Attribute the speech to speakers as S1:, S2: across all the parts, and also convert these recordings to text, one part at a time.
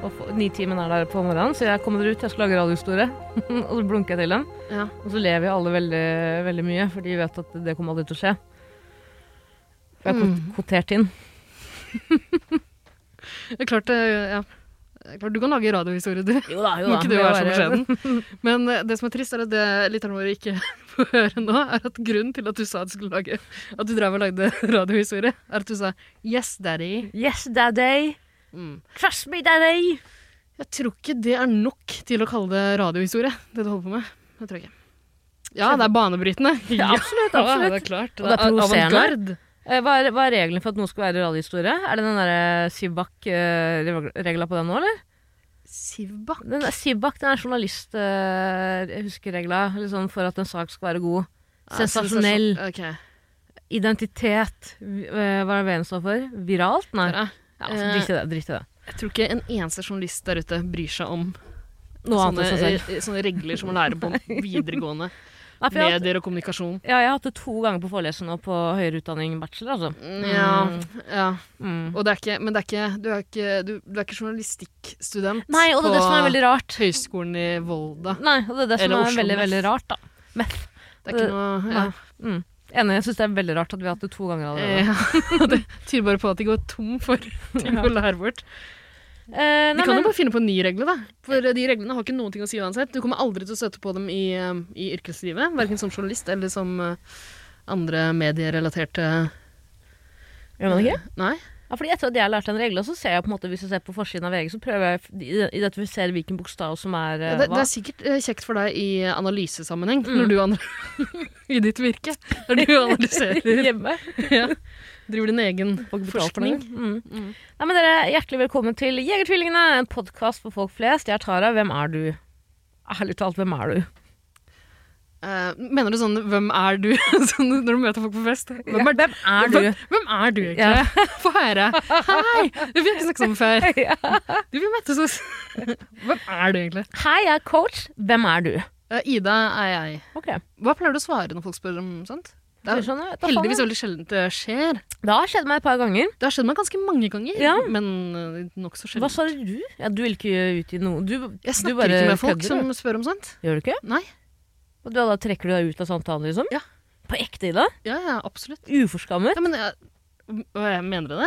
S1: Og få- Nitimen er der på morgenen, så jeg kommer dere ut, jeg skal lage radiohistorie. og så blunker jeg til dem.
S2: Ja.
S1: Og så ler vi alle veldig, veldig mye, for de vet at det kommer aldri til å skje. For jeg er kot- kvotert inn.
S2: Det er klart, det- ja. Det er klart du kan lage radiohistorie, du.
S1: Jo da,
S2: Må ikke det være så beskjeden. Men eh, det som er trist, er at det lytterne våre ikke får høre nå, er at grunnen til at du sa at du skulle lage At du drev og lagde radiohistorie, er at du sa 'yes, daddy'.
S1: Yes, daddy.
S2: Mm.
S1: Crush me, daddy.
S2: Jeg tror ikke det er nok til å kalle det radiohistorie, det du holder på med. Det tror jeg ikke. Ja, det er banebrytende.
S1: Ja, absolutt,
S2: Ja,
S1: absolutt.
S2: det er klart.
S1: Og det er provoserende.
S2: avantgarde.
S1: Eh, Hva er, hva er reglene for at noe skal være radiohistorie? Er det den der eh, Sibak-regla eh, på den nå, eller?
S2: Sivbakk.
S1: Den der Sibak den er journalist eh, jeg husker regla litt sånn for at en sak skal være god. Sensasjonell.
S2: Ja, sensasjon- ok.
S1: Identitet. Vi- eh, Hva er det V-en står for? Viralt? Nei.
S2: Dere,
S1: Ja, altså,
S2: eh,
S1: drit i det. Drit i det.
S2: Jeg tror ikke en eneste journalist der ute bryr seg om
S1: Noe annet enn seg
S2: sånne, eh,
S1: selv.
S2: sånne regler som man lærer på videregående.
S1: Nei, for jeg, har hatt-
S2: Medier og kommunikasjon.
S1: ja, jeg har hatt det to ganger på forelesning nå på høyere utdanning bachelor, altså.
S2: Ja, ja.
S1: Mm.
S2: Og det er ikke, men det er ikke, du, er ikke, du, du er ikke journalistikkstudent
S1: Nei, og det er det som er veldig rart.
S2: Høgskolen i Volda.
S1: Nei, og det er det som
S2: Eller
S1: er
S2: Oslo
S1: veldig,
S2: Met.
S1: veldig rart, da. Men,
S2: Det er
S1: Øh,
S2: ikke noe ja.
S1: mm. Enig, jeg syns det er veldig rart at vi har hatt det to ganger allerede.
S2: Eh, Det tyder bare på at de går tom for ting å lære bort.
S1: Eh,
S2: De
S1: nei,
S2: kan
S1: men-
S2: jo bare finne på en ny regle, da. For de reglene har ikke noen ting å si uansett. Du kommer aldri til å støte på dem i, eh, i yrkeslivet. Verken som journalist eller som eh, andre medierelaterte
S1: Gjør man det ikke?
S2: Nei.
S1: Ja, fordi Etter at jeg lærte en regle, så ser jeg på en måte, hvis jeg ser på forsiden av VG, så prøver jeg å ide- identifisere hvilken bokstav som er eh,
S2: Det, det
S1: hva. Mm.
S2: er sikkert eh, kjekt for deg i analysesammenheng, når du analyserer i ditt virke. Når du analyserer
S1: Hjemme.
S2: ja. Driver din egen forskning.
S1: Mm. Nei, men dere, Hjertelig velkommen til Jegertvillingene, en podkast for folk flest. Jeg er Tara. Hvem er du? Ærlig talt, hvem er du?
S2: Eh, mener du sånn 'hvem er du' sånn, når du møter folk på fest? Hvem er,
S1: hvem er du?
S2: Hvem, hvem er du
S1: Ja.
S2: egentlig? Få høre. Hei! Vi har ikke snakket sammen før.
S1: Ja.
S2: Du, vi møttes hos Hvem er du egentlig?
S1: Hei, jeg er coach. Hvem er du?
S2: Eh, Ida er jeg.
S1: Ok, det
S2: Hva pleier du å svare når folk spør om sånt? Det
S1: er
S2: er
S1: sånn, vet du,
S2: heldigvis
S1: faen,
S2: veldig sjelden det skjer.
S1: Det har skjedd meg et par ganger.
S2: Det har skjedd meg ganske mange ganger,
S1: Ja.
S2: men nokså
S1: Hva
S2: sjelden.
S1: svarer du? Ja, du vil ikke ut i noe Du,
S2: Jeg
S1: du
S2: snakker
S1: bare
S2: ikke med folk
S1: kødder,
S2: som
S1: du.
S2: spør om sånt.
S1: Gjør du ikke?
S2: Nei.
S1: Og da, da trekker du deg ut av samtalen, liksom?
S2: Ja.
S1: På ekte, Ida?
S2: Ja, ja, absolutt.
S1: Uforskammet?
S2: Ja, men jeg, hva, jeg mener det?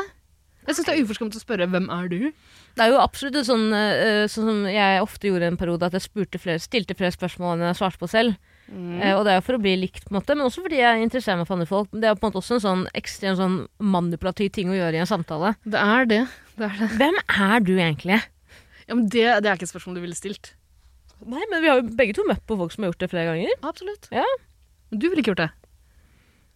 S2: Jeg syns det er uforskammet å spørre 'hvem er du?'
S1: Det er jo absolutt et sånn, eh, sånn som jeg ofte gjorde en periode, at jeg spurte flere, stilte flere spørsmål enn jeg svarte på selv. Eh, og det er jo for å bli likt, på en måte, men også fordi jeg interesserer meg for andre folk. Men det er på en måte også en sånn ekstrem sånn manipulativ ting å gjøre i en samtale.
S2: Det er det. Det er det.
S1: Hvem er du egentlig?
S2: Ja, men det, det er ikke et spørsmål du ville stilt.
S1: Nei, men vi har jo begge to møtt på folk som har gjort det flere ganger.
S2: Absolutt.
S1: Ja.
S2: Men du ville ikke gjort det.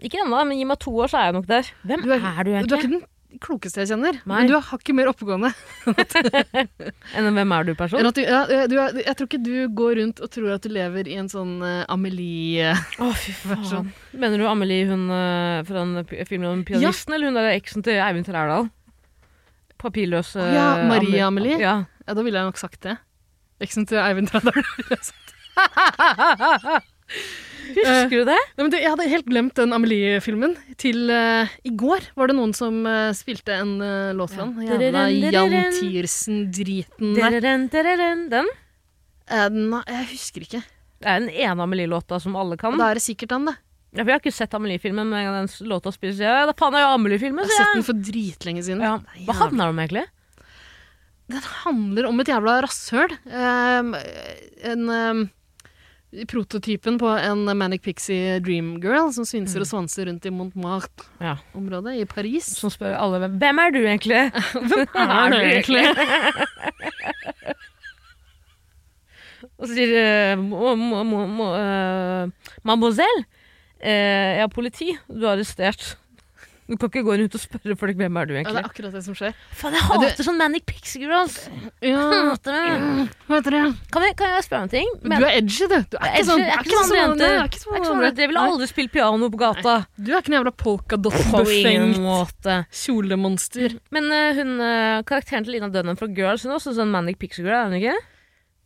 S1: Ikke ennå, men gi meg to år, så er jeg nok der. Hvem
S2: Du er-
S1: er,
S2: Du
S1: du
S2: er
S1: egentlig?
S2: ikke den klokeste jeg kjenner,
S1: Nei.
S2: men du er hakket mer oppegående.
S1: Enn en hvem er
S2: Enn
S1: du-person?
S2: at du, ja, du er, jeg tror ikke du går rundt og tror at du lever i en sånn eh, Amelie
S1: Å, fy
S2: Versjon.
S1: Sånn. Mener du Amelie hun eh, fra den pi- filmen om pianisten, eller hun der eksen til Eivind Trærdal? Papirløs
S2: Å ja,
S1: eh,
S2: Marie
S1: Am-
S2: Amelie.
S1: Ja.
S2: Ja, da ville jeg nok sagt det. Veksten til Eivind Trædal.
S1: Husker du det?
S2: Nei, men du, jeg hadde helt glemt den Amelie-filmen. Til eh, i går var det noen som eh, spilte en eh, låt fra den.
S1: Ja.
S2: Jævla
S1: Dereren, dereren.
S2: Jan Tiersen-driten der.
S1: Dereren, dereren, Eh, Den?
S2: Eh, Nei, jeg husker ikke.
S1: Det er den ene Amelie-låta som alle kan.
S2: Og da er det sikkert han, det.
S1: Ja, for jeg har ikke sett Amelie-filmen, men en gang den låta spilles ja, da faen er jo Amelie-filmen,
S2: Jeg har
S1: sier
S2: sett
S1: jeg.
S2: den for dritlenge siden.
S1: Ja.
S2: Det er
S1: Hva
S2: jævla-
S1: handler det om, egentlig?
S2: Den handler om et jævla rasshøl. Ehm, en ehm, Prototypen på en Manic Pixie Dream Girl som svinser og svanser rundt i
S1: Mm. Ja.
S2: Montmartre-området i Paris.
S1: Som spør alle hvem Hvem er du, egentlig? Hvem
S2: er du egentlig?
S1: Og så sier eh, mo- mo- mo- mo- eh, Mademoiselle, eh, jeg er politi. Du er arrestert. Du kan ikke gå rundt og spørre folk hvem er du
S2: Ja, det er
S1: egentlig.
S2: akkurat det som skjer.
S1: Faen, jeg
S2: Ja, det-
S1: hater sånn Manic Pixie Girls!
S2: Ja,
S1: Hater det.
S2: hva heter det?
S1: Kan, vi, kan jeg spørre om en ting?
S2: Men, du er edgy, du. Du er ikke
S1: Jeg
S2: sånn
S1: jeg er ikke sånn
S2: som-
S1: jente.
S2: nei,
S1: Jeg
S2: du er
S1: er
S2: ikke
S1: ikke
S2: sånn
S1: sånn
S2: andre.
S1: jente. Jeg ville aldri spille piano på gata.
S2: Du er ikke en jævla
S1: På ingen
S2: polkadott-befengt
S1: måte.
S2: kjolemonster.
S1: Men eh, hun, eh, karakteren til Lina Dunham fra Girls Hun er også sånn Manic Pixie Girl, er hun ikke?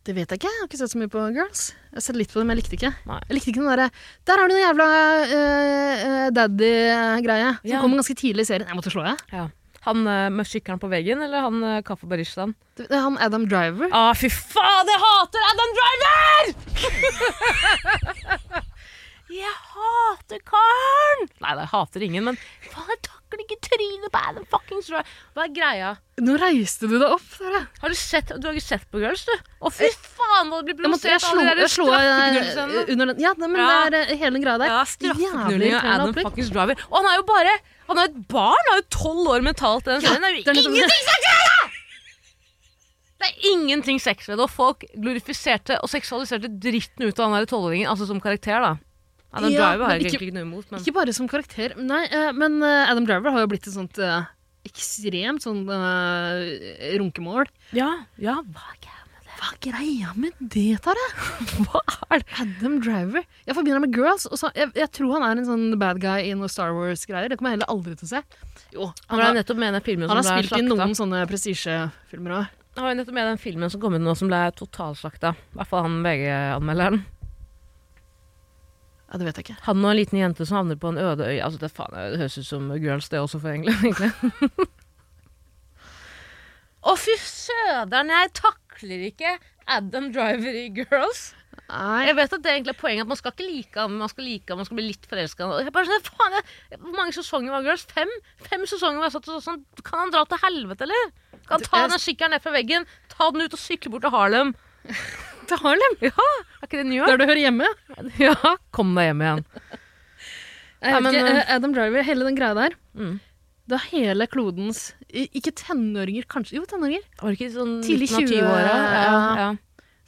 S2: Det vet jeg ikke. Jeg har ikke sett så mye på Girls. Jeg har sett litt på det, men jeg likte ikke.
S1: Nei.
S2: Jeg likte ikke den derre Der har du den jævla eh, eh, daddy-greia som
S1: Ja.
S2: kommer ganske tidlig i serien. Jeg måtte slå, jeg.
S1: Han uh, med sykkelen på veggen, eller han uh, kaffebaristaen?
S2: Det er han Adam Driver.
S1: Å, ah, fy faen, jeg hater Adam Driver! jeg hater karen! Nei, jeg hater ingen, men faen, jeg takler ikke trynet på Adam fuckings Driver. Hva er greia?
S2: Nå reiste du deg opp. Sara.
S1: Har du sett, du har ikke sett på Girls, du? Å, fy faen, hva du
S2: Eh,
S1: blir
S2: Jeg måtte jeg
S1: provosert av
S2: slå,
S1: alle
S2: jeg slå eh,
S1: de der straffeknullsene.
S2: under den. Ja, nei, men
S1: Ja.
S2: det er eh, hele den greia der.
S1: Ja,
S2: Jævlig
S1: straffeknulling av
S2: irriterende
S1: Adam
S2: opplegg.
S1: fuckings Driver. Og han er jo bare Han er jo et barn! Han er jo tolv år mentalt. i Den serien.
S2: det er
S1: det er jo
S2: nettopp det.
S1: ingenting sexy ved det! Det er ingenting sexy ved det, og folk glorifiserte og seksualiserte dritten ut av han der tolvåringen, altså som karakter, da. Adam
S2: Ja,
S1: Driver har
S2: men
S1: jeg
S2: ikke-
S1: egentlig ikke noe imot, men
S2: Ikke bare som karakter. Nei, eh, men eh, Adam Driver har jo blitt et sånt eh, ekstremt sånn eh, runkemål.
S1: Ja, ja, hva er greia med det?
S2: Hva er greia med det, Tara?
S1: Hva er det?
S2: Adam Driver. Jeg forbinder ham med girls. Og så, jeg, jeg tror han er en sånn bad guy i noe Star Wars-greier. Det kommer jeg heller aldri til å se. Jo,
S1: Han
S2: han,
S1: har
S2: har,
S1: nettopp med den filmen
S2: han
S1: som
S2: har
S1: ble
S2: spilt i
S1: slakta.
S2: noen sånne prestisjefilmer òg.
S1: Han har nettopp med den filmen som kom ut nå, som ble totalslakta. I hvert fall han VG-anmelderen.
S2: Ja, det vet jeg ikke.
S1: Han og en liten jente som havner på en øde øy. Altså, det, faen, det høres ut som Girls, det også, for egentlig. egentlig. Å, fy søderen, jeg takler ikke Adam Driver i Girls.
S2: Nei,
S1: Jeg vet at det egentlig er poenget at man skal ikke like ham, men man skal like ham, man skal bli litt forelska. Hvor mange sesonger var Girls? Fem? Fem sesonger var jeg satt og så sånn. Kan han dra til helvete, eller? Kan han ta
S2: Jeg-
S1: den sykkelen ned fra veggen, ta den ut og sykle bort til Harlem?
S2: til Harlem!
S1: Ja, er ikke det New York?
S2: Der du hører hjemme.
S1: Ja, kom deg hjem igjen.
S2: Jeg
S1: Ja,
S2: vet
S1: men,
S2: ikke,
S1: eh,
S2: eh, Adam Driver, hele den greia der.
S1: Mm.
S2: Da hele klodens i- Ikke tenåringer, kanskje. Jo, tenåringer.
S1: Var det ikke sånn
S2: Tidlig
S1: midten av
S2: 20,
S1: 20-åra?
S2: ja.
S1: ja.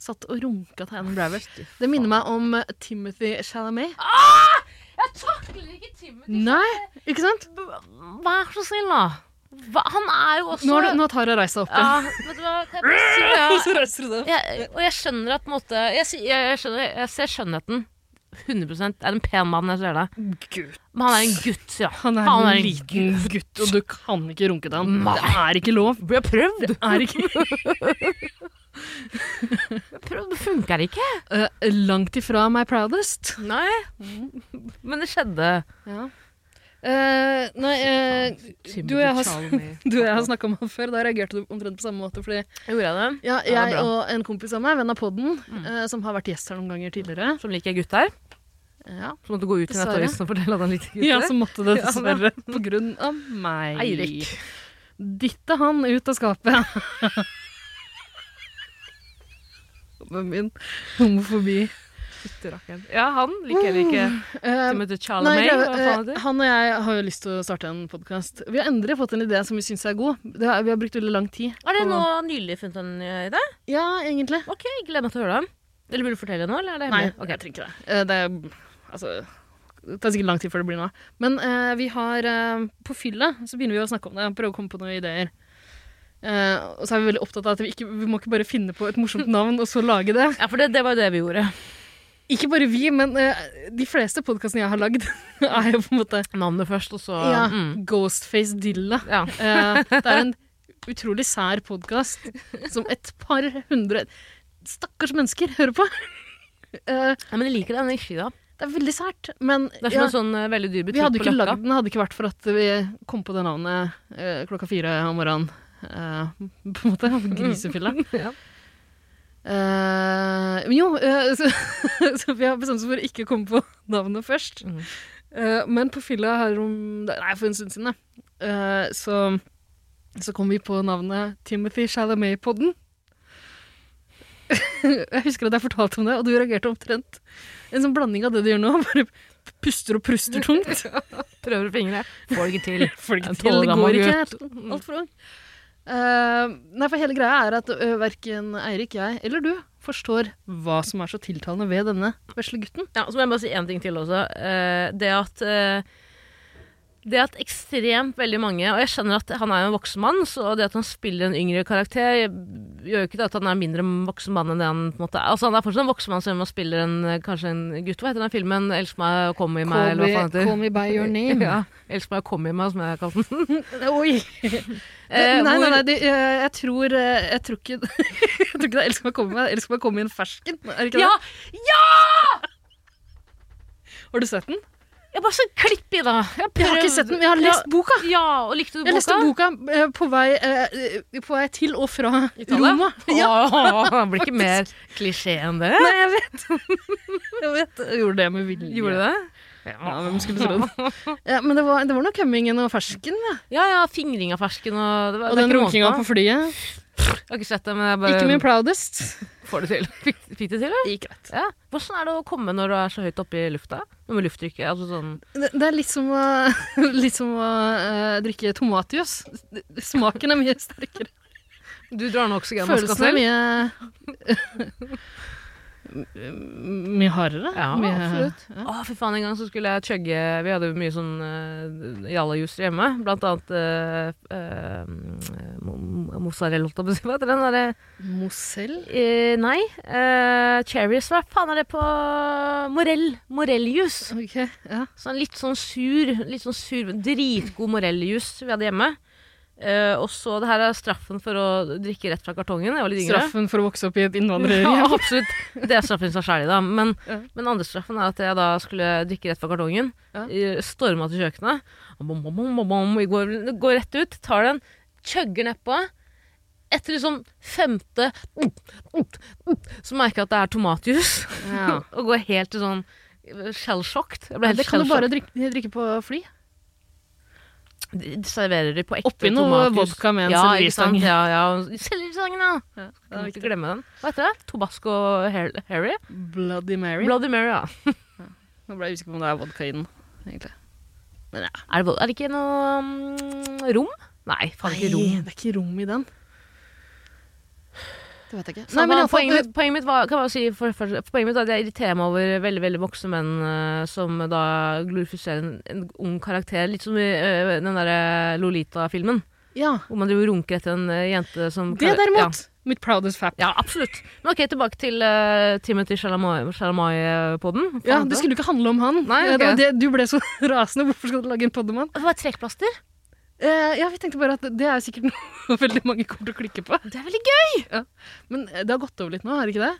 S2: Satt og runka til Adam Driver.
S1: Fy
S2: Det minner meg om eh, Timothy Chalamet.
S1: Jeg takler ikke Timothy.
S2: Nei, Ah, ikke sant?
S1: Vær så snill, da. Hva, han er jo også
S2: Nå har, du, nå har Tara reist seg opp
S1: ja,
S2: igjen.
S1: vet du hva, kan jeg bare si,
S2: Så reiser du deg opp.
S1: ja. jeg, Og jeg skjønner at på en måte Jeg, si- jeg, jeg, skjønner, jeg ser skjønnheten. 100 Det er en pen mann, jeg ser det.
S2: Gud,
S1: Men han er en gutt, ja.
S2: han er en liten gutt, og du kan ikke runke til han.
S1: Nei.
S2: Det er ikke lov.
S1: Blir jeg prøvd?
S2: Det er ikke
S1: Prøvd det funker ikke.
S2: Eh, Langt ifra my proudest.
S1: Nei. Men det skjedde.
S2: Eh, nei, eh, du og jeg har,
S1: Chalamet.
S2: du og jeg har snakka om han før. Da reagerte du omtrent på samme måte. Fordi
S1: Gjorde jeg det?
S2: ja,
S1: Ja,
S2: jeg
S1: bra.
S2: og en kompis av meg, venn av podden, eh, som har vært gjest her noen ganger tidligere
S1: Som liker gutter?
S2: Ja,
S1: Som måtte gå ut i
S2: Dessverre.
S1: Nettavisen og fortelle at han liker gutter?
S2: ja så måtte det
S1: Ja, men-
S2: dessverre på grunn av meg.
S1: Eirik.
S2: dytte han ut av skapet. Med min Eh, homofobi.
S1: Ja, han liker heller ikke
S2: Eh,
S1: Timothy
S2: nei,
S1: Chalamet.
S2: greia-
S1: hva faen
S2: eh,
S1: heter det?
S2: han og jeg har jo lyst til å starte en podkast. Vi har endelig fått en idé som vi syns er god. Det har, vi har brukt veldig lang tid.
S1: Har dere
S2: på-
S1: nå nylig funnet en eh, idé?
S2: Ja, egentlig.
S1: Ok, gleder meg til å høre den. Eller burde du fortelle nå, eller er det
S2: Nei,
S1: hemmelig? Ok.
S2: jeg trenger ikke det. Eh, det er, altså, det tar sikkert lang tid før det blir noe. Men eh, vi har eh, På fylla så begynner vi å snakke om det. Prøve å komme på noen ideer. Eh, og så er vi veldig opptatt av at vi, ikke, vi må ikke bare finne på et morsomt navn og så lage det.
S1: Ja, for det, det var jo det vi gjorde.
S2: Ikke bare vi, men eh, de fleste podkastene jeg har lagd, er jo på en måte
S1: Navnet først, og så
S2: ja,
S1: Mm.
S2: Ghostface Dilla.
S1: ja.
S2: Eh, det er en utrolig sær podkast som et par hundre stakkars mennesker hører på. Eh,
S1: ja, Men jeg liker den ikke, da.
S2: det er veldig sært, men
S1: Det er som
S2: ja,
S1: en sånn eh, veldig dyr
S2: vi
S1: butikk
S2: hadde
S1: på
S2: ikke
S1: Løkka.
S2: lagd den hadde det ikke vært for at vi kom på det navnet eh, klokka fire om morgenen. eh, på en måte. Grisefylla.
S1: Mm. Ja.
S2: Eh, men jo, eh, så, så vi har bestemt oss for å ikke komme på navnet først.
S1: Mhm.
S2: Eh, men på fylla her om Nei, for en stund siden, da. eh, så, så kom vi på navnet Timothy Chalamet-podden. jeg husker at jeg fortalte om det, og du reagerte omtrent. En sånn blanding av det du gjør nå, bare puster og pruster tungt.
S1: Prøver å fingre. Får det ikke til.
S2: Får det
S1: En
S2: ikke til, det
S1: tolvgammel
S2: går ikke.
S1: gutt.
S2: Alt- Alt for ung. Eh, nei, for hele greia er at uh, verken Eirik, jeg eller du forstår hva som er så tiltalende ved denne vesle gutten.
S1: Ja, så må jeg bare si én ting til også. Eh, det at eh, Det at ekstremt veldig mange Og jeg skjønner at han er jo en voksen mann, så det at han spiller en yngre karakter, gjør jo ikke det at han er mindre voksen mann enn det han på en måte er. Altså Han er fortsatt en voksen mann selv om han spiller en, eh, kanskje en gutt. Hva heter den filmen? 'Elsk meg og kom i meg', eller hva faen heter
S2: Call me by your name.
S1: Ja. 'Elsk meg og kom i meg', som jeg har kalt den.
S2: Oi!
S1: Eh,
S2: nei, nei,
S1: hvor-
S2: nei, det, eh, jeg tror eh, Jeg tror ikke, jeg tror ikke det er Elsk meg å komme med. Elsk meg å komme i en fersken. Er det ikke
S1: Ja!
S2: det? Har du sett den?
S1: Jeg bare så klipp i, da. Jeg,
S2: Jeg har
S1: prøvde-
S2: ikke sett den, men jeg har lest boka.
S1: Ja, ja, og likte du boka?
S2: Jeg leste boka eh, på vei, eh, på vei til og fra
S1: Italia?
S2: Roma.
S1: Ja. det blir ikke mer klisjé enn det.
S2: Nei, jeg vet. jeg vet. Jeg gjorde det med vilje.
S1: Gjorde det?
S2: Ja, hvem skulle tro det? Ja, men det var, det var nok Hemmingen og fersken. Ja.
S1: Ja, ja, fingring av fersken og det var,
S2: Og
S1: det er
S2: den
S1: ikke
S2: runkinga
S1: måte.
S2: på flyet.
S1: Jeg har ikke sett det, men jeg bare
S2: Ikke min proudest.
S1: får det til. Fikk, fikk det til, eller?
S2: Gikk greit.
S1: Ja. Hvordan er det å komme når du er så høyt oppe i lufta? Noe med lufttrykket? Altså sånn
S2: Det, det er litt som å, litt som å eh, drikke tomatjuice. Smaken er mye sterkere.
S1: Du drar nå oksygenmaska
S2: Følelsen er
S1: selv?
S2: mye M- Mye hardere.
S1: Ja,
S2: mye,
S1: absolutt.
S2: Ja.
S1: Å, fy faen, en gang så skulle jeg chugge Vi hadde jo mye sånn uh, jallajuicer hjemme. Blant annet eh, eh, mo- mozzarella, holdt jeg på å si. Hva heter den eh, derre
S2: Mosell?
S1: Eh, nei. Eh, cherries, hva faen er det på Morell? Morelljus.
S2: Ok, ja.
S1: Sånn litt sånn sur, litt sånn sur dritgod morelljus vi hadde hjemme. Eh, og så det her er straffen for å drikke rett fra kartongen. Jeg var litt yngre.
S2: Straffen for å vokse opp i et
S1: Ja,
S2: innvandrerhjem.
S1: absolutt. Det er straffen som er særlig, da. Men,
S2: Ja.
S1: men andre straffen er at jeg da skulle drikke rett fra kartongen.
S2: Ja.
S1: eh, Storma til kjøkkenet. Bom, bom, bom, bom, bom, går, går rett ut, tar den, chugger nedpå. Etter liksom femte Så merker jeg at det er tomatjuice.
S2: Ja.
S1: Og går helt til sånn shell-sjokt. Jeg ble helt
S2: Det kan du
S1: shell-shocked.
S2: bare drikke, drikke på fly.
S1: De serverer de på ekte
S2: Oppi noe
S1: tomatjus.
S2: vodka med en
S1: ja, ikke
S2: selleristang.
S1: sant? Ja, ja. Selleristangen, ja. Kan ikke glemme den. Hva heter det? Tobasco Har- Harry?
S2: Bloody Mary.
S1: Bloody Mary, ja.
S2: Nå ble jeg usikker på om det er vodka i den. egentlig.
S1: Er det, er det ikke noe mm, rom? Nei, faen ikke rom.
S2: det er ikke rom i den. Det vet jeg ikke.
S1: Nei, men
S2: iallfall-
S1: poenget, mitt, poenget mitt var, kan jeg bare si for, for, poenget mitt var at jeg irriterer meg over veldig veldig voksne menn eh, som da glorifiserer en, en ung karakter. Litt som i eh, den derre Lolita-filmen,
S2: ja,
S1: hvor man driver og runker etter en eh, jente som
S2: det derimot. Mitt proudest fap.
S1: Ja, ja absolutt. Men ok, tilbake til eh, Timothy Shalamai-poden.
S2: Ja, Det skulle ikke handle om han.
S1: Nei,
S2: Eh, det var
S1: ok.
S2: det, du ble så rasende. Hvorfor skal du lage en podd om han?
S1: det var trekkplaster.
S2: Eh, ja, vi tenkte bare at Det er sikkert noe veldig mange kommer til å klikke på.
S1: Det er veldig gøy!
S2: Men eh, det har gått over litt nå, har det ikke det?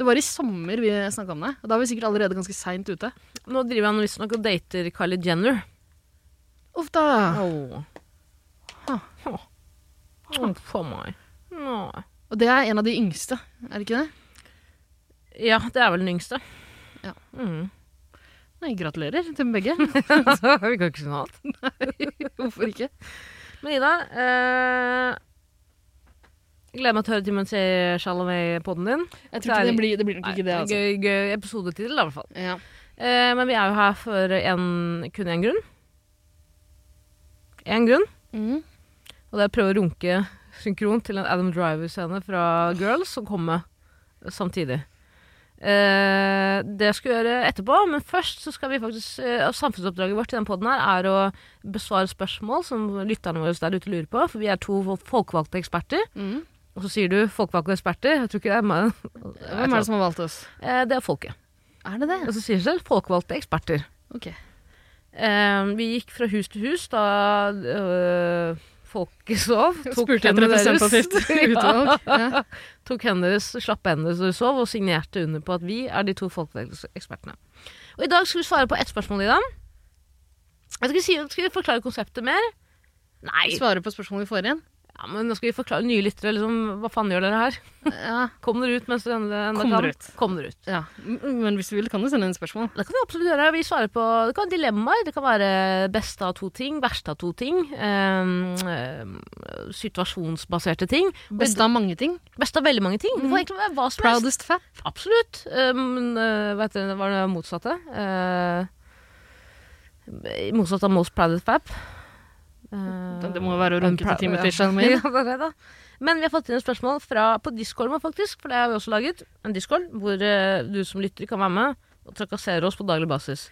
S2: Det var i sommer vi snakka om det. Og da var vi sikkert allerede ganske seint ute.
S1: Nå driver han visstnok og dater Kylie Jenner.
S2: Uff da.
S1: Åh.
S2: Ah.
S1: Åh. Åh, For meg. Nå.
S2: Og det er en av de yngste, er det ikke det?
S1: Ja, det er vel den yngste.
S2: Ja.
S1: Mm.
S2: Nei, gratulerer til begge.
S1: Vi kan ikke si noe annet.
S2: Hvorfor ikke?
S1: Men Ida, eh, gleder meg til å høre Timothy Chalamet-podden din.
S2: Jeg tror ikke det blir, det blir nok
S1: Nei,
S2: ikke det, altså.
S1: Gøy, gøy episodetittel, i hvert fall.
S2: Ja.
S1: Eh, men vi er jo her for en, kun én grunn. Én grunn,
S2: Mm.
S1: og det er å prøve å runke synkron til en Adam Driver-scene fra Girls som kommer samtidig. Eh, det skal vi gjøre etterpå, men først så skal vi faktisk eh, Samfunnsoppdraget vårt i den podden her er å besvare spørsmål som lytterne våre der ute lurer på, for vi er to folkevalgte eksperter.
S2: Mm.
S1: Og så sier du 'folkevalgte eksperter', jeg tror ikke det er meg.
S2: Hvem er det som har valgt oss?
S1: Eh, det er folket.
S2: Er det det?
S1: Og så sier det selv 'folkevalgte eksperter'.
S2: Ok.
S1: Eh, vi gikk fra hus til hus da øh, folket sov.
S2: Spurte etter representativt
S1: ja,
S2: utvalg. Ja.
S1: tok hendene deres, slapp hendene deres da de sov, og signerte under på at vi er de to folkevalgtekspertene. Og i dag skal vi svare på ett spørsmål, Ida. Jeg skal, ikke si, skal vi forklare konseptet mer? Nei,
S2: Svare på spørsmålet vi får igjen.
S1: ja, men nå skal vi forklare nye lyttere. Liksom, hva faen gjør dere her?
S2: Ja.
S1: Kom dere ut mens dere enda enda
S2: Kom
S1: kan.
S2: dere ut.
S1: Kom dere ut.
S2: ja. M- Men hvis du vil, kan du sende inn spørsmål.
S1: Det kan vi absolutt gjøre. Vi svarer på det kan være dilemmaer. Det kan være beste av to ting, verste av to ting. ehm, ehm, situasjonsbaserte ting.
S2: Beste av mange ting.
S1: Beste av veldig mange ting. Det kan egentlig være hva som helst.
S2: Proudest fat.
S1: Absolutt. Um, uh, vet du, hva er det motsatte? Eh, motsatt av most proudest fab. Eh,
S2: Det det må være å runke til Timothy Shalmin.
S1: Ja, det er det da. Men vi har fått inn et spørsmål fra, på Discord vår, faktisk. For det har vi også laget. En Discord hvor eh, du som lytter kan være med og trakassere oss på daglig basis.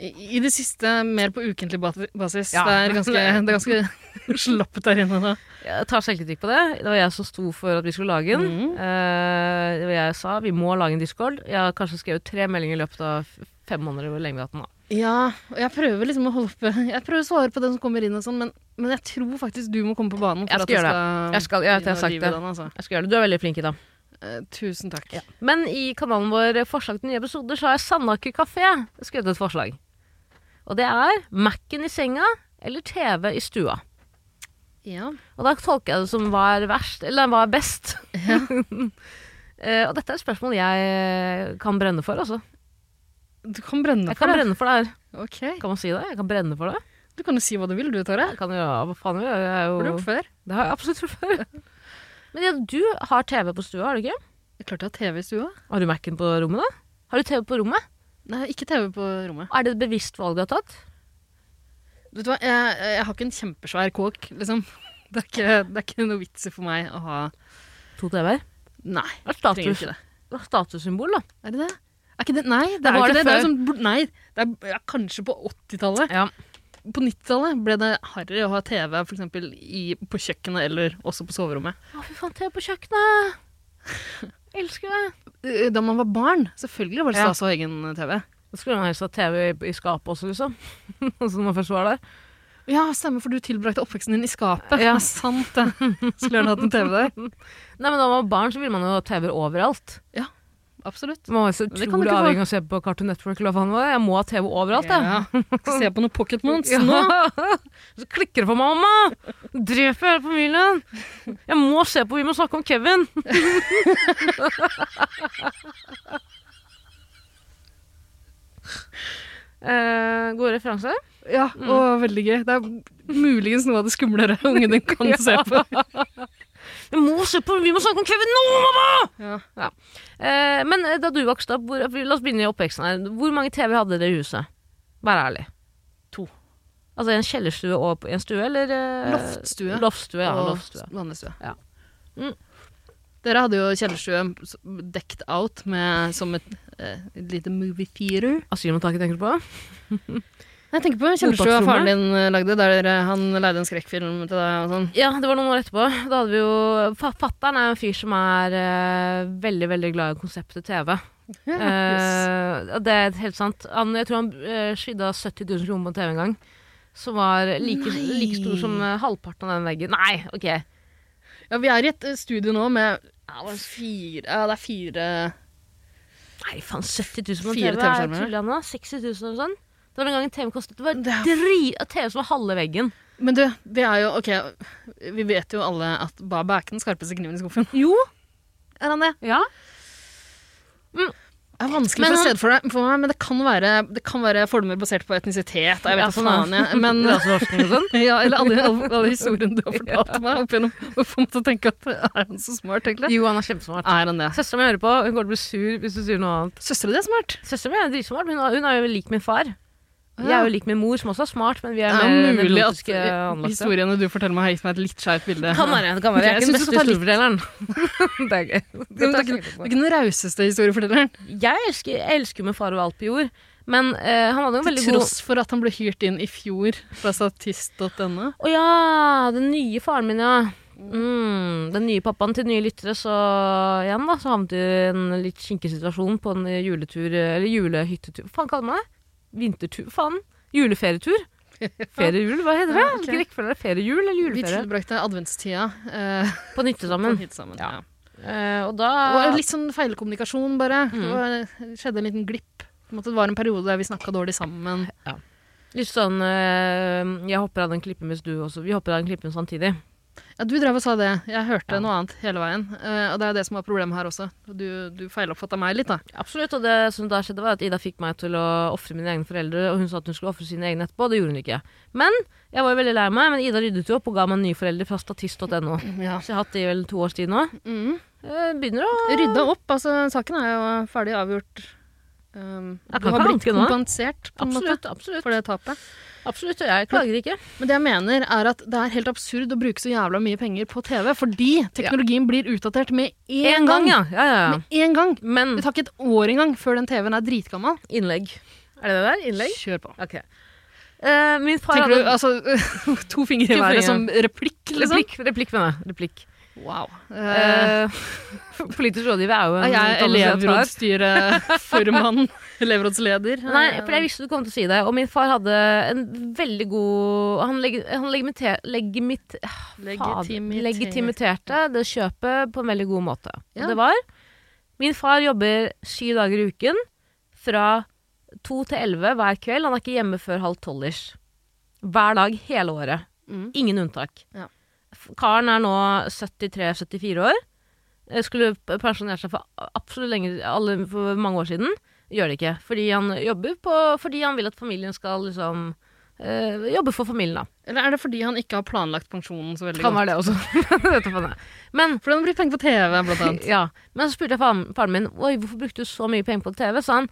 S2: I, I det siste mer på ukentlig ba- basis.
S1: Ja.
S2: Det er ganske, det er ganske slappet der inne nå.
S1: Jeg tar selvkritikk på det. Det var jeg som sto for at vi skulle lage den.
S2: Mhm.
S1: Eh, det var jeg som sa vi må lage en Discord. Jeg har kanskje skrevet tre meldinger i løpet av f- fem måneder. hvor lenge vi har hatt den da.
S2: Ja, og jeg prøver liksom å holde på Jeg prøver å svare på den som kommer inn og sånn, men, men jeg tror faktisk du må komme på banen. for
S1: Jeg
S2: at
S1: skal gjøre
S2: skal
S1: Jeg skal, jeg vet,
S2: begynne å
S1: jeg har sagt
S2: rive
S1: det.
S2: den, altså.
S1: Jeg skal gjøre det. Du er veldig flink i det.
S2: Eh, Tusen takk.
S1: Men i kanalen vår eh, Forslag til nye episoder så har jeg Sandaker kafé skrevet et forslag. Og det er Mac-en i senga eller TV i stua.
S2: Ja.
S1: Og da tolker jeg det som hva er verst, eller hva er best. Eh, og dette er et spørsmål jeg eh, kan brenne for, altså.
S2: Du kan brenne
S1: Jeg kan
S2: for det.
S1: brenne for det her.
S2: Ok.
S1: Kan man si det? Jeg kan brenne for det.
S2: Du kan jo si hva du vil, du, Tore.
S1: Jeg kan jo, hva faen jeg gjør jeg?
S2: Har du
S1: Er
S2: gjort
S1: jo,
S2: før?
S1: det har jeg absolutt gjort før. Men ja, du har TV på stua, har du ikke?
S2: Jeg klarte å ha TV i stua.
S1: Har du Mac-en på rommet, da? Har du TV på rommet?
S2: Nei, ikke TV på rommet.
S1: Er det et bevisst valg du har tatt?
S2: Vet du hva, jeg, jeg har ikke en kjempesvær kåk, liksom. Det er ikke, det er ikke noe vits i for meg å ha
S1: To TV-er.
S2: Nei.
S1: Det er
S2: jeg Trenger
S1: status,
S2: ikke det.
S1: det er statussymbol, da.
S2: Er det det? Er ikke det? Nei, det er
S1: var
S2: ikke
S1: det
S2: det. det er
S1: før.
S2: sånn, bl- nei, det er ja, kanskje på 80-tallet.
S1: Ja.
S2: På 90-tallet ble det harry å ha TV for eksempel, i, på kjøkkenet eller også på soverommet.
S1: Å, fy faen, TV på kjøkkenet! Elsker det.
S2: Eh, Da man var barn, selvfølgelig var det
S1: Ja.
S2: stas å ha egen TV.
S1: Da skulle man helst ha TV i- i skapet også, liksom. Så når man først var der.
S2: Ja, stemmer, for du tilbrakte oppveksten din i skapet.
S1: Ja.
S2: Det er sant, det. Skulle gjerne hatt en TV der.
S1: Nei, men da man var barn, så ville man jo ha TV-er overalt.
S2: Absolutt.
S1: Man var så
S2: det kan du
S1: utrolig
S2: ikke få.
S1: avhengig av å se på Cartoon Network eller hva faen det var. Jeg må ha TV overalt, jeg.
S2: Ja. Skal se på noen Pocket Months
S1: Ja.
S2: nå.
S1: Så klikker det for meg, mamma! Dreper hele familien! Jeg må se på Vi må snakke om Kevin! Eh, god referanse.
S2: Ja, og veldig gøy. Det er muligens noe av det skumlere ungen din kan se på.
S1: Jeg må se på Vi må snakke om Kevin nå, mamma!
S2: Ja.
S1: Eh, men eh, da du vokste opp, hvor, la oss begynne i oppveksten her. Hvor mange TV hadde dere i huset? Vær ærlig.
S2: To.
S1: Altså en kjellerstue og en stue, eller? eh,
S2: Loftstue.
S1: Loftstue, ja.
S2: og
S1: Loftstue.
S2: vannestue.
S1: Ja. Mm.
S2: Dere hadde jo kjellerstue s- decked out med, som et, eh, et lite movie theater.
S1: Asylmottaket tenker du på?
S2: Jeg tenker på kjellerstua
S1: Mottaksstua.
S2: faren din eh, lagde, der eh, han leide en skrekkfilm til deg og sånn.
S1: Ja, det var noen år etterpå. Da hadde vi jo fa- Fatteren er en fyr som er eh, veldig, veldig glad i konseptet TV. Eh, og det er helt sant. Han, jeg tror han uh, skydda 70 000 kroner på TV en gang. Som var like,
S2: Nei.
S1: like stor som eh, halvparten av den veggen. Nei, OK.
S2: Ja, vi er i et eh, studio nå med ja, det er fire Ja, det er fire
S1: Nei, faen, 70 000 på en
S2: Fire
S1: TV? Er
S2: TV-skjermer.
S1: tuller han da? 60 000 eller sånn? Det var en gang en TV kostet Det var
S2: Det er-
S1: dri... en TV som var halve veggen.
S2: Men du, det er jo OK, vi vet jo alle at Baba er ikke den skarpeste kniven i skuffen.
S1: Jo.
S2: Er han det?
S1: Ja.
S2: Det er vanskelig for
S1: Men
S2: å se
S1: han-
S2: det for, deg, for meg, men det kan være, det kan være fordommer basert på etnisitet. Jeg vet
S1: Ja,
S2: ikke
S1: sånn
S2: faen, jeg. Men,
S1: Raseforskning og sånn.
S2: ja, eller alle, alle, alle historiene du har fortalt meg opp igjennom. Hvorfor måtte jeg tenke at er han så smart, egentlig?
S1: Jo, han er kjempesmart.
S2: Er han det?
S1: Søstera mi hører på. Hun kommer til å bli sur hvis du sier noe annet.
S2: Søstera di er smart.
S1: Søstera mi er dritsmart, men hun er- hun er jo lik min far.
S2: Ja.
S1: Jeg er jo lik min mor, som også er smart, men vi er
S2: Det er
S1: mer
S2: jo mulig at
S1: melodiske anlagte.
S2: historiene du forteller meg, har gitt meg et litt skjevt bilde.
S1: Det kan være. det kan være. Jeg er
S2: Ok, jeg
S1: ikke den
S2: synes
S1: beste
S2: du skal ta litt-
S1: historiefortelleren. det er gøy.
S2: Du er ikke, du er ikke den rauseste historiefortelleren.
S1: Jeg elsker, jeg elsker med far og alt på jord, men eh, han hadde en
S2: Til
S1: veldig god
S2: tross for at han ble hyrt inn i fjor fra statist.no.
S1: Å ja, den nye faren min, ja. Mm, den nye pappaen til nye lyttere, så igjen da, så havnet vi i en litt kinkig situasjon på en juletur, eller julehyttetur, hva faen kaller man det? Vintertur, faen. Juleferietur? Feriejul, hva heter det?
S2: Ja, ok.
S1: Hvilken rekkefølge er det? Feriejul eller
S2: Vi
S1: juleferie?
S2: tilbrakte adventstida eh,
S1: På nytte
S2: på
S1: sammen.
S2: hit sammen.
S1: Ja.
S2: Ja.
S1: Eh, og da
S2: Det var litt sånn feilkommunikasjon, bare.
S1: Mm.
S2: Det, var, det skjedde en liten glipp. På en måte, det var en periode der vi snakka dårlig sammen.
S1: Litt sånn eh, Jeg hopper av den klippen hvis du også Vi hopper av den klippen samtidig.
S2: Ja, du drev og sa det. Jeg hørte
S1: Ja.
S2: noe annet hele veien. Eh, og det er jo det som var problemet her også. Du, du feiloppfatta meg litt, da.
S1: Absolutt. Og det som da skjedde, var at Ida fikk meg til å ofre mine egne foreldre. Og hun sa at hun skulle ofre sine egne etterpå, og det gjorde hun ikke. Men jeg var jo veldig lei meg, men Ida ryddet jo opp og ga meg nye foreldre fra statist.no.
S2: Ja.
S1: Så jeg har hatt det i vel to års tid nå.
S2: Mm.
S1: Eh, Begynner å
S2: Rydda opp. Altså, saken er jo ferdig avgjort. Um,
S1: Jeg
S2: du
S1: kan
S2: har
S1: ikke
S2: blitt
S1: anke nå.
S2: kompensert på en
S1: Absolutt, absolutt.
S2: måte for det tapet.
S1: absolutt. Og jeg klager ikke.
S2: Men det jeg mener er at det er helt absurd å bruke så jævla mye penger på TV, fordi teknologien blir utdatert med én
S1: Én gang,
S2: gang.
S1: ja. Mm. ja, ja.
S2: Med én gang.
S1: Men
S2: Det tar ikke et år engang før den TV-en er dritgammel.
S1: innlegg Er det det der? Innlegg?
S2: Kjør på.
S1: Ok. Eh, min far
S2: Tenker du
S1: hadde
S2: altså to fingre i
S1: To fingre.
S2: været som replikk, liksom?
S1: Replikk, replikk mener jeg. Replikk.
S2: Wow. Eh,
S1: Eh, politisk rådgiver er jo en
S2: er jeg er
S1: utdannelse jeg tar.
S2: elevrådsstyreformann. Elevrådsleder. Eh,
S1: Nei, for jeg visste du kom til å si det. Og min far hadde en veldig god Han, leg, han legimite, legimit, faen,
S2: Legitimitet.
S1: legitimiterte det kjøpet på en veldig god måte.
S2: Ja.
S1: Og det var Min far jobber syv dager i uken fra to til elleve hver kveld. Han er ikke hjemme før halv tolv-ish. Hver dag hele året.
S2: Mm.
S1: Ingen unntak.
S2: Ja.
S1: F- Karen er nå 73-74 år. Eh, Skulle p- pensjonert seg for a- absolutt lenge, alle, for mange år siden. Gjør det ikke. Fordi han jobber på Fordi han vil at familien skal liksom eh, jobbe for familien, da.
S2: Eller er det fordi han ikke har planlagt pensjonen så veldig
S1: Kan
S2: godt?
S1: være det også. Vet du hva det er. Men
S2: For den blir penger på TV, blant annet.
S1: ja. Men så spurte jeg faren, faren min Oi, hvorfor brukte du så mye penger på TV. Sa han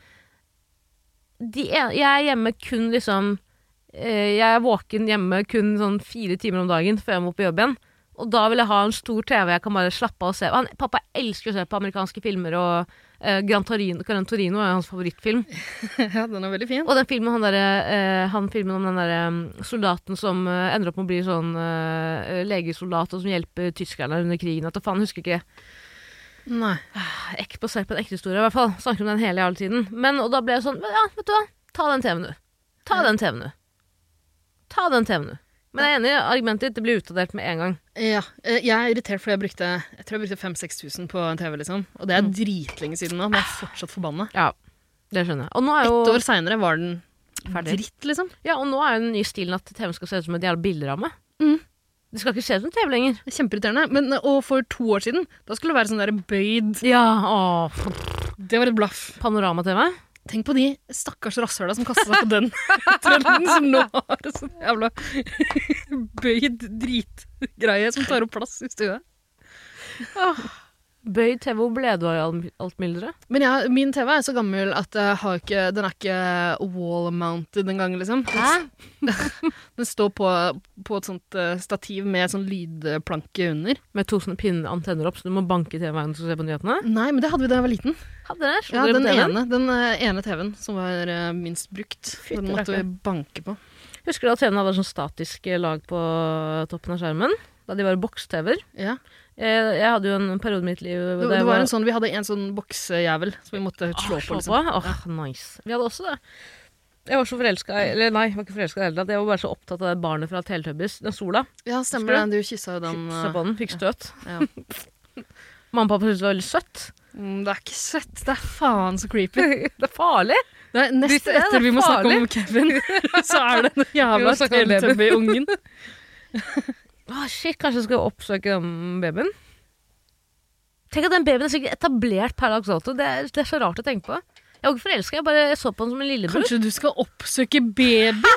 S1: de er, Jeg er hjemme kun liksom eh, Jeg er våken hjemme kun sånn fire timer om dagen før jeg må på jobb igjen. Og da vil jeg ha en stor TV jeg kan bare slappe av og se. Og Han, pappa elsker å se på amerikanske filmer, og eh, Gran Torino, Gran Torino er hans favorittfilm.
S2: Ja, den er veldig fin.
S1: Og den filmen, han, derre, eh, han filmen om den derre mm, soldaten som eh, ender opp med å bli sånn eh, legesoldat, og som hjelper tyskerne under krigen. At, faen, jeg husker ikke
S2: Nei.
S1: ek basert på en ekte historie, i hvert fall. Snakker om den hele jævla tiden. Men, og da ble jeg sånn, ja, vet du hva, ta den TV-en, du. Ta den TV-en, du. Ta den TV-en, du. Men jeg er enig i argumentet ditt, det blir utdatert med en gang.
S2: Ja, eh, jeg er irritert fordi jeg brukte Jeg tror jeg brukte 5000-6000 på en TV, liksom. Og det
S1: Mm.
S2: er dritlenge siden nå, men jeg er fortsatt forbanna.
S1: Ja, det skjønner jeg. Og nå er jo,
S2: Ett år seinere var den
S1: Ferdig.
S2: dritt, liksom.
S1: ja, og nå er jo den nye stilen at TV-en skal se ut som et jævla bilderamme.
S2: Mm.
S1: Det skal ikke se ut som TV lenger.
S2: Det er Kjempeirriterende. Men, eh, og for to år siden, da skulle det være sånn der bøyd
S1: Ja, åh,
S2: Det var et blaff.
S1: panorama-TV.
S2: Tenk på de stakkars rasshøla som kasta seg på den trenden, som nå har en sånn jævla bøyd dritgreie som tar opp plass i stua.
S1: Bøyd TV, hvor ble du av i alt- alt myldret?
S2: Men ja, min TV er så gammel at jeg har ikke, den er ikke wall-mounted engang, liksom.
S1: Hæ?
S2: Den står på, på et sånt eh, stativ med sånn lydplanke under.
S1: Med to sånne pinnantenner opp, så du må banke TV-en til å se på nyhetene.
S2: Nei, men det hadde vi da jeg var liten.
S1: Hadde dere? Slo
S2: Ja,
S1: dere på
S2: den
S1: TV-en?
S2: ene, den eh, ene TV-en som var eh, minst brukt. Den måtte vi banke på.
S1: Husker du at TV-en hadde sånn statisk lag på eh, toppen av skjermen? Da de var boks-TV-er.
S2: Ja.
S1: Jeg, Eh, jeg hadde jo en periode i mitt liv hvor
S2: Det, det var en sånn, vi hadde en sånn boksejævel som vi måtte slå på. Liksom.
S1: Åh, nice. Vi hadde også det. Jeg var så forelska Eller nei, jeg var ikke forelska i det hele tatt. Jeg var bare så opptatt av det barnet fra Teletubbies, den sola.
S2: Ja, stemmer
S1: Husker
S2: det. Du kyssa jo den. eh,
S1: Se på den, fikk støt.
S2: ja.
S1: Mamma og pappa syntes det var veldig søtt.
S2: Mm, Det er ikke søtt. Det er faen så creepy.
S1: det er farlig!
S2: Nei,
S1: Hvis
S2: nest
S1: det er
S2: etter vi må snakke om Kevin, så er det den
S1: Vi må
S2: jævla
S1: snakke om babyen.
S2: teletubby-ungen.
S1: Åh, Ah, shit, kanskje jeg skal oppsøke den babyen? Tenk at den babyen er sikkert etablert per dags dato. Det er, det er så rart å tenke på. Jeg var ikke forelska, jeg bare jeg så på den som en lillebror.
S2: Kanskje du skal oppsøke babyen?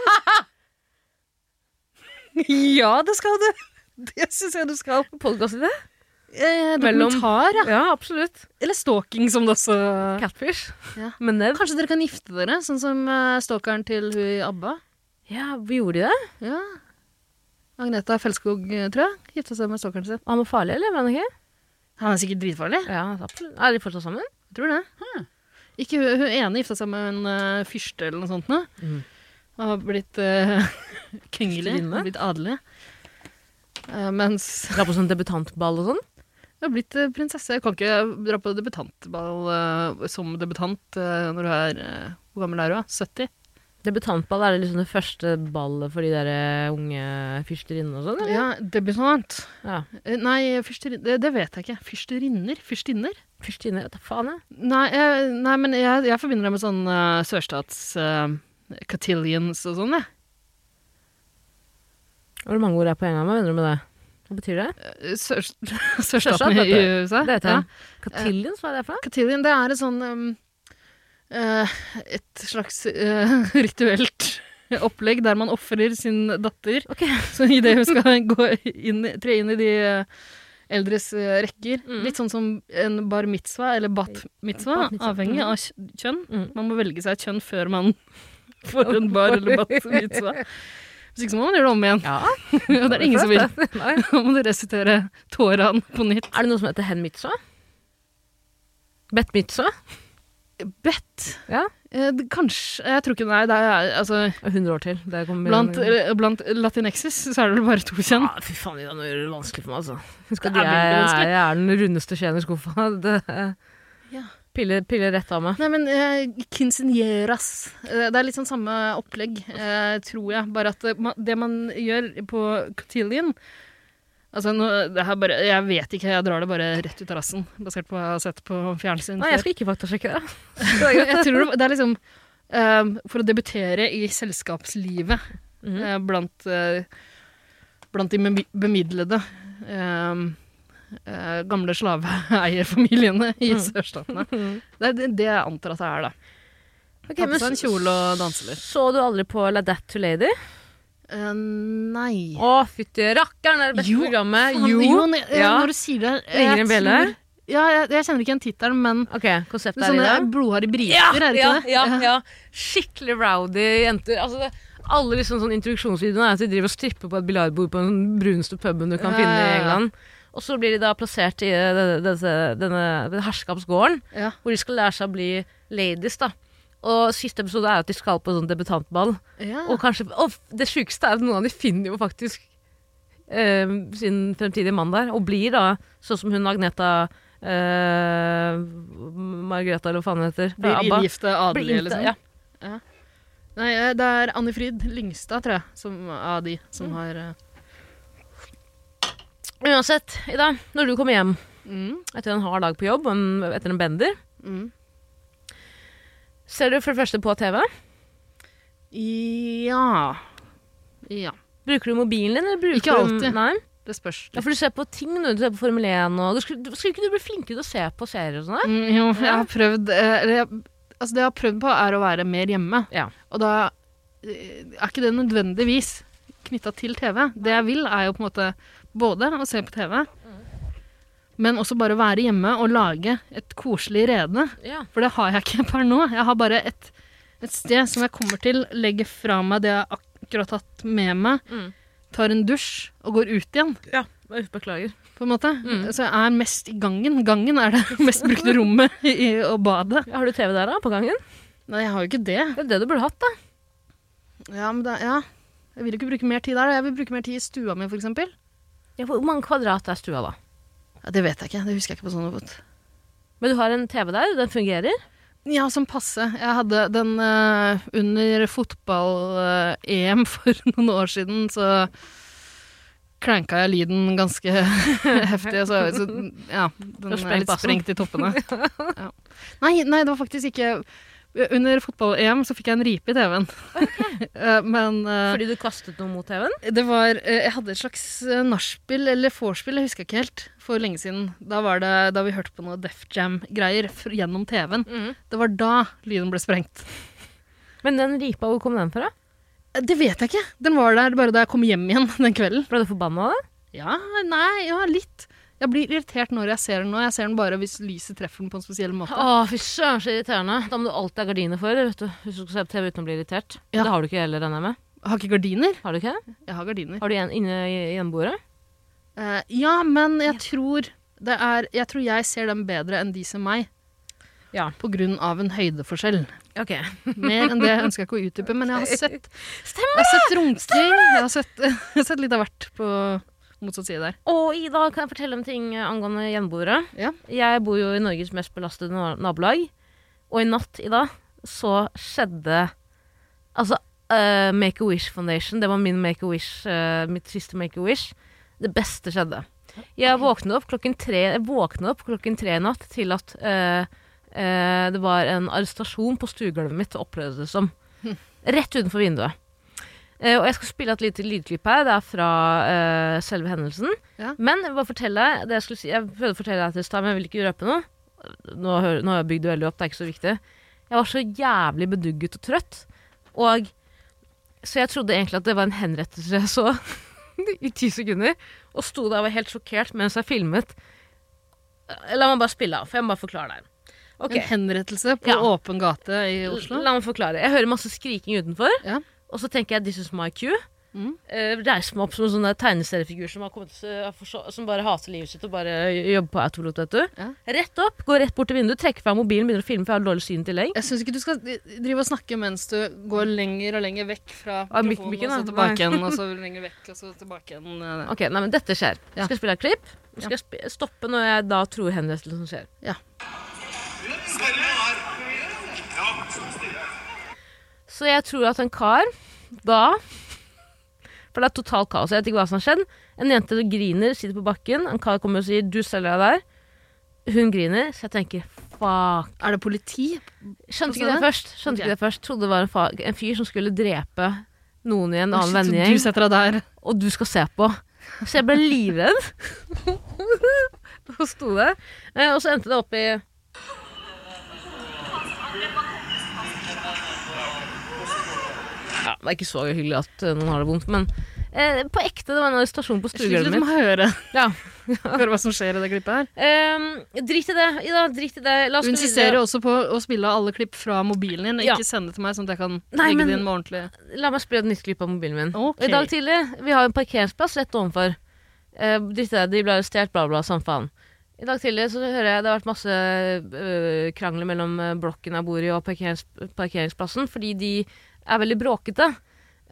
S2: ja, det skal du. Det syns jeg du skal.
S1: Podkast i det?
S2: Eh,
S1: Mellom-
S2: dokumentar, ja.
S1: Ja, absolutt.
S2: Eller stalking, som det også
S1: Catfish.
S2: Ja.
S1: Men det
S2: Kanskje dere kan gifte dere, sånn som eh, stalkeren til hun i ABBA.
S1: Ja, vi gjorde de det?
S2: Ja. Agneta Felskog, eh, tror jeg, gifta seg med stalkeren sin.
S1: Han var farlig, eller? Var han ikke?
S2: Han er sikkert dritfarlig.
S1: Ja, absolutt. Er de fortsatt sammen?
S2: Jeg tror det. Ikke hun, hun ene gifta seg med en eh, fyrste eller noe sånt. nå.
S1: Mhm.
S2: Og har blitt uh, kongelig.
S1: Fyrstinne?
S2: Har blitt adelig. Eh, mens
S1: Dra på sånn debutantball og sånn?
S2: hun har blitt eh, prinsesse. Jeg kan ikke dra på debutantball eh, som debutant eh, når du er eh, Hvor gammel er du? da? 70?
S1: Debutantball, er det liksom det første ballet for de der eh, unge fyrsterinne og sånn? eller?
S2: Ja, debutant.
S1: Ja.
S2: Eh, Nei, fyrsterinne det, det vet jeg ikke. Fyrsterinner? Fyrstinner?
S1: Fyrsterinne, vet du faen jeg.
S2: Nei, jeg, nei men jeg, jeg forbinder det med sånn eh, sørstats... Uh, Cotillions og sånn, jeg.
S1: Var det mange ord jeg på en gang? Hva mener du med det? Hva betyr det?
S2: Eh, Sør,
S1: Sørstat,
S2: sørstaten
S1: vet
S2: i
S1: du.
S2: USA.
S1: Det heter
S2: ja.
S1: han. Katiljen, hva er det for noe?
S2: Cotillion, det er et sånn um, eh, Et slags eh, rituelt opplegg der man ofrer sin datter
S1: Ok.
S2: så i det hun skal gå inn, tre inn i de eh, eldres eh, rekker.
S1: Mm.
S2: Litt sånn som en bar mitzvah eller bat mitzvah, mm.
S1: Bat mitzvah,
S2: avhengig
S1: mhm.
S2: av kj- kjønn.
S1: Mm.
S2: Man må velge seg et kjønn før man får en bar eller bat mitzvah. Hvis ikke så må man gjøre det om igjen.
S1: Ja,
S2: Og det er ingen som vil.
S1: Nei.
S2: Da må du resitere Toraen på nytt.
S1: Er det noe som heter hen mitzvah? Bet mitzvah?
S2: Bedt
S1: Ja.
S2: Eh, det- Kanskje Jeg tror ikke Nei, det er altså
S1: 100 år til. Det kommer
S2: Blant, eh, blant latinexis så er det vel bare to kjønn.
S1: Ja, Ah, fy faen, Ida, nå gjør du det vanskelig for meg, altså. Husk at
S2: Det er
S1: jeg,
S2: veldig
S1: jeg,
S2: vanskelig.
S1: er den rundeste skjeen i skuffa. Det
S2: Ja.
S1: piller, piller rett av meg.
S2: Nei, men uh, quinceañeras. Eh, det er litt sånn samme opplegg, eh, tror jeg. Bare at eh, ma- det man gjør på cotillion Altså, nå, det her bare, jeg vet ikke, jeg drar det bare rett ut av rassen, basert på hva jeg har sett på fjernsyn.
S1: Nei,
S2: før.
S1: jeg skal ikke faktasjekke det.
S2: jeg tror det, det er liksom ehm, For å debutere i selskapslivet
S1: Mhm.
S2: eh, blant, eh, blant de bemi- bemidlede ehm, eh, gamle slaveeierfamiliene i
S1: Mhm.
S2: sørstatene. Det er det, det jeg antar at det er, da.
S1: Ok,
S2: Ta på
S1: men
S2: seg en kjole og danse litt.
S1: Så du aldri på La That to Lady?
S2: Eh, nei
S1: Å, fytti rakkeren, det er det beste
S2: Jo,
S1: programmet.
S2: Faen,
S1: Eh, Jo.
S2: Jon, jeg-
S1: Ja.
S2: Når du sier det jeg
S1: Ringer en bjelle?
S2: tror- Ja, jeg, jeg kjenner ikke igjen tittelen, men sånn
S1: Ok, konseptet
S2: det
S1: er
S2: er
S1: i
S2: sånne
S1: dag.
S2: blodharde briter,
S1: Ja,
S2: er det ikke
S1: ja,
S2: det?
S1: ja, ja. Skikkelig rowdy jenter. Altså, det, alle liksom sånne introduksjonsvideoene er at de driver og stripper på et biljardbord på den bruneste puben du kan
S2: Ja,
S1: finne
S2: ja,
S1: i
S2: ja.
S1: England. Og så blir de da plassert i eh, denne, denne- denne herskapsgården,
S2: Ja.
S1: hvor de skal lære seg å bli ladies, da. Og siste episode er at de skal på sånn debutantball.
S2: Ja.
S1: Og kanskje, og f- det sjukeste er at noen av de finner jo faktisk eh, sin fremtidige mann der, og blir da sånn som hun Agneta eh, Margrethe, eller hva faen hun heter. fra
S2: Blir
S1: ABBA.
S2: inngifte
S1: Blir
S2: adelige,
S1: innta-
S2: liksom.
S1: ja.
S2: Nei, eh, det er Anne Fryd Lyngstad, tror jeg, som, av de som har eh,
S1: sånn. Uansett, Ida, når du kommer hjem
S2: mm,
S1: etter en hard dag på jobb, en, etter en bender,
S2: mm.
S1: ser du for det første på TV.
S2: Ja. Ja.
S1: Bruker du mobilen din? Eller bruker
S2: Ikke alltid.
S1: Du, nei?
S2: Det spørs.
S1: Ja, for du ser på ting nå. Du ser på Formel 1 og du skulle, du, skulle ikke du bli flinkere til å se på serier og sånn?
S2: Mm, jo, jeg har prøvd eh, eller jeg, Altså, det jeg har prøvd på, er å være mer hjemme.
S1: Ja.
S2: Og da eh, er ikke det nødvendigvis knytta til TV. Det jeg vil, er jo på en måte både å se på TV, men også bare være hjemme og lage et koselig rede.
S1: Ja.
S2: For det har jeg ikke per nå. Jeg har bare et, et sted som jeg kommer til, legger fra meg det jeg akkurat har tatt med meg,
S1: Mm.
S2: tar en dusj og går ut igjen,
S1: ja. Beklager.
S2: på en måte.
S1: Mm.
S2: Så jeg er mest i gangen. Gangen er det mest brukte rommet i, og badet.
S1: Ja, har du TV der, da? På gangen?
S2: Nei, jeg har jo ikke det.
S1: Det er det du burde hatt, da.
S2: Ja, men da, ja. Jeg vil jo ikke bruke mer tid der. Jeg vil bruke mer tid i stua mi, for eksempel.
S1: Ja, hvor mange kvadrat er stua, da?
S2: Ja, det vet jeg ikke. Det husker jeg ikke på sånn fot.
S1: Men du har en TV der, den fungerer.
S2: Ja, som passe. Jeg hadde den eh, under fotball-EM for noen år siden, så klanka jeg lyden ganske heftig. Så, så ja, den
S1: Og sprengt
S2: er litt
S1: bassen.
S2: sprengt i toppene. Ja. Nei, nei, det var faktisk ikke Under fotball-EM så fikk jeg en ripe i TV-en. Eh, Men eh,
S1: Fordi du kastet noe mot TV-en.
S2: Det var, eh, jeg hadde et slags eh, nachspiel eller vorspiel, jeg husker ikke helt, for lenge siden. Da var det da vi hørte på noe Def Jam-greier f- gjennom TV-en. Det var da lyden ble sprengt.
S1: Mm. Men den ripa, hvor kom den fra?
S2: Eh, Det vet jeg ikke. Den var der bare da jeg kom hjem igjen den kvelden.
S1: Ble du forbanna av det?
S2: Ja, nei, ja, litt. Jeg blir irritert når jeg ser den nå. Jeg ser den bare hvis lyset treffer den på en spesiell måte.
S1: Å, fy søren, så irriterende. Da må du alltid ha gardiner for, vet du. Hvis du skal se på TV uten å bli irritert.
S2: Ja.
S1: Det har du ikke heller, regner jeg med.
S2: Jeg har ikke gardiner.
S1: Har du ikke det?
S2: Jeg har gardiner.
S1: Har du en inne i i gjenboere?
S2: Eh, ja, men jeg tror det er Jeg tror jeg ser dem bedre enn de ser meg.
S1: Ja.
S2: På grunn av en høydeforskjell.
S1: Ok.
S2: Mer enn det ønsker jeg ikke å utdype, men jeg har sett
S1: Stemmer
S2: Jeg har sett runking. Jeg har sett, jeg har sett litt av hvert på motsatt side der.
S1: Å, Ida, kan jeg fortelle om ting eh, angående gjenboere?
S2: Ja.
S1: Jeg bor jo i Norges mest belastede na- nabolag. Og i natt, Ida, så skjedde Altså, eh, Make a Wish Foundation, det var min Make a Wish, eh, mitt siste Make a Wish. Det beste skjedde. Jeg våknet opp klokken tre, jeg våknet opp klokken tre i natt til at eh, eh, det var en arrestasjon på stuegulvet mitt, opplevdes det som. Rett utenfor vinduet. Eh, og jeg skal spille et lite lydklipp her. Det er fra eh, selve hendelsen.
S2: Ja.
S1: Men jeg vil bare fortelle deg det jeg, skulle si, jeg prøvde å fortelle deg til i stad, men jeg vil ikke røpe noe. Nå, hø- nå har jeg bygd det veldig opp, det er ikke så viktig. Jeg var så jævlig bedugget og trøtt. Og Så jeg trodde egentlig at det var en henrettelse jeg så i ti sekunder. Og sto der og var helt sjokkert mens jeg filmet. Eh, La meg bare spille av, for jeg må bare forklare deg. Ok.
S2: En henrettelse på
S1: Ja.
S2: åpen gate i Oslo.
S1: La meg forklare. Jeg hører masse skriking utenfor,
S2: Ja.
S1: og så tenker jeg 'this is my cue'.
S2: Mm.
S1: Eh, reiser meg opp som en sånn der tegneseriefigur som, har kommet, eh, for så- som bare hater livet sitt og bare jobber på autolot, vet du.
S2: Ja.
S1: Rett opp, går rett bort til vinduet, trekker fra mobilen, begynner å filme, for jeg har dårlig syn i tillegg.
S2: Jeg syns ikke du skal d- drive og snakke mens du går lenger og lenger vekk fra
S1: Ah, mik-
S2: mikrofonen,
S1: mikken,
S2: og så
S1: ja.
S2: tilbake igjen, og så lenger vekk, og så tilbake igjen. eh.
S1: Ok, nei, men dette skjer.
S2: Ja.
S1: Skal jeg spille et klipp? Skal jeg sp stoppe når jeg da tror henrettelsen skjer?
S2: Ja.
S1: Så jeg tror at en kar da For det er totalt kaos. Jeg vet ikke hva som har skjedd. En jente griner, sitter på bakken. En kar kommer og sier 'du selger deg der'. Hun griner, så jeg tenker fuck.
S2: Er det politi?
S1: Skjønte
S2: Forstår
S1: ikke det
S2: du?
S1: først. Skjønte ikke det først Trodde det var en, fa en fyr som skulle drepe noen i en annen
S2: Shit, så Du
S1: vennegjeng,
S2: setter deg der.
S1: og du skal se på. Så jeg ble livredd. og sto der. Eh, Og så endte det opp i Ja, det er ikke så hyggelig at eh, noen har det vondt, men eh, på ekte, det var en arrestasjon på
S2: Jeg sliter
S1: stuegulvet
S2: litt
S1: mitt.
S2: med å høre,
S1: Ja.
S2: høre hva som skjer i det klippet her.
S1: Ehm, drit i det, Ida. Drit i det. La oss
S2: Du
S1: gå videre.
S2: insisterer også på å spille alle klipp fra mobilen din, og
S1: Ja.
S2: ikke sende det til meg, sånn at jeg kan
S1: Nei,
S2: legge
S1: men-
S2: det inn med ordentlig
S1: La meg spille et nytt klipp av mobilen min.
S2: Ok.
S1: Og I dag tidlig, Vi har en parkeringsplass rett ovenfor. Eh, dritt i det, de ble arrestert, bla, bla, samme faen. I dag tidlig så hører jeg det har vært masse øh, krangler mellom eh, blokken jeg bor i og parkerings parkeringsplassen, fordi de er veldig bråkete.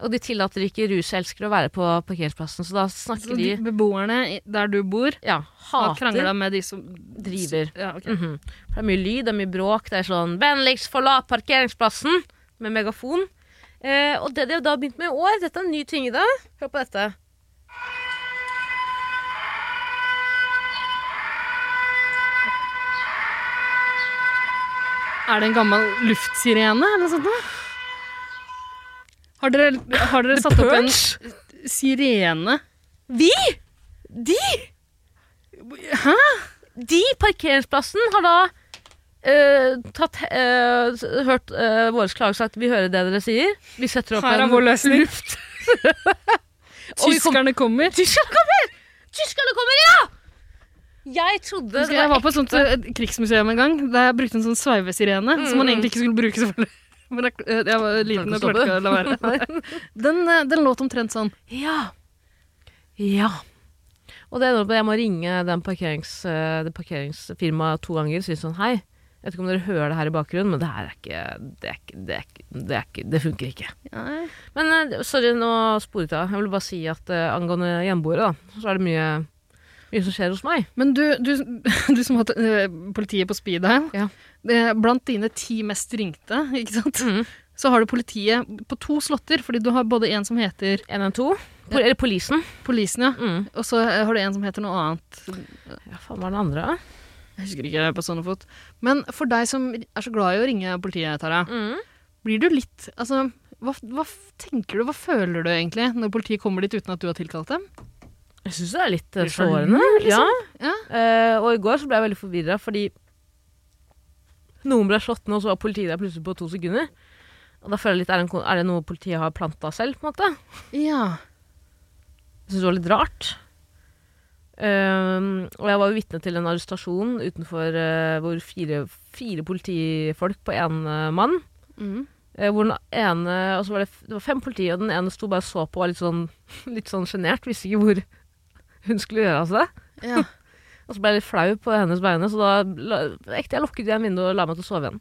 S1: Og de tillater ikke ruselskere å være på parkeringsplassen, så da
S2: Så
S1: snakker
S2: de
S1: de
S2: beboerne i- der du bor,
S1: Ja,
S2: har krangla
S1: hater.
S2: med de som
S1: Driver.
S2: Ja, ok.
S1: Mhm. For Det er mye lyd, det er mye bråk. Det er sånn 'Vennligst forlat parkeringsplassen' med megafon. Eh, og det de har da begynt med i år, dette er en ny ting i dag. Hør på dette.
S2: Er det en gammel luftsirene eller noe sånt? noe? Har dere, har dere satt opp en sirene?
S1: Vi! De!
S2: Hæ?
S1: De parkeringsplassen har da eh, tatt, eh, s- hørt uh, våre klager og sagt 'vi hører det dere sier'. Vi setter opp
S2: Her er
S1: en
S2: vår løsning.
S1: luft. Og vi kom-
S2: Tyskerne kommer.
S1: Tyskerne kommer! Tyskerne kommer, ja! Jeg trodde
S2: Husker
S1: det
S2: jeg
S1: var
S2: var på et sånt eh, et krigsmuseum en gang, der jeg brukte en sånn sveivesirene, som man egentlig ikke skulle bruke, selvfølgelig. Men jeg, eh, jeg var liten og
S1: Klarte
S2: klarte Mm. ikke
S1: ikke
S2: å la være. Den, eh, den låt omtrent sånn.
S1: Ja. Ja. Og det ender opp med at jeg må ringe den parkerings, eh, det parkeringsfirmaet to ganger og si sånn Hei, jeg vet ikke om dere hører det her i bakgrunnen, men det her er ikke Det, er ikke, det, er ikke, det, er ikke, det funker ikke. Men eh, sorry, nå sporet jeg av. Jeg vil bare si at eh, angående hjemboere, da, så er det mye, mye som skjer hos meg.
S2: Men du, du, du som har hatt eh, politiet på speed her,
S1: Ja.
S2: eh, blant dine ti mest ringte, ikke sant?
S1: Mhm.
S2: Så har du politiet på to slotter, fordi du har både en som heter
S1: 112. Pol Eller polisen.
S2: Polisen, ja.
S1: Mm.
S2: Og så eh, har du en som heter noe annet.
S1: Ja, faen, hva er den andre? da?
S2: Jeg husker ikke på sånne fot. Men for deg som er så glad i å ringe politiet, Tara,
S1: Mm.
S2: blir du litt Altså, hva, hva f- tenker du, hva føler du egentlig når politiet kommer dit uten at du har tilkalt dem?
S1: Jeg syns det er litt eh,
S2: Blir så
S1: sårende. Ja.
S2: Ja.
S1: Eh, og i går så ble jeg veldig forvirra fordi noen ble slått ned, og så var politiet der plutselig på to sekunder. Og da føler jeg litt, Er det, en kon- er det noe politiet har planta selv? på en måte?
S2: Ja.
S1: Jeg syns det var litt rart. Ehm, og jeg var jo vitne til en arrestasjon utenfor eh, hvor fire, fire politifolk på én mann
S2: Mm.
S1: Eh, hvor den ene, og så var det, f- det var fem politi, og den ene sto bare og så på og var litt sånn litt sånn sjenert. Visste ikke hvor hun skulle gjøre av seg.
S2: Ja.
S1: Og så ble jeg litt flau på hennes vegne, så da la- ekte, jeg lukket igjen vinduet og la meg til å sove igjen.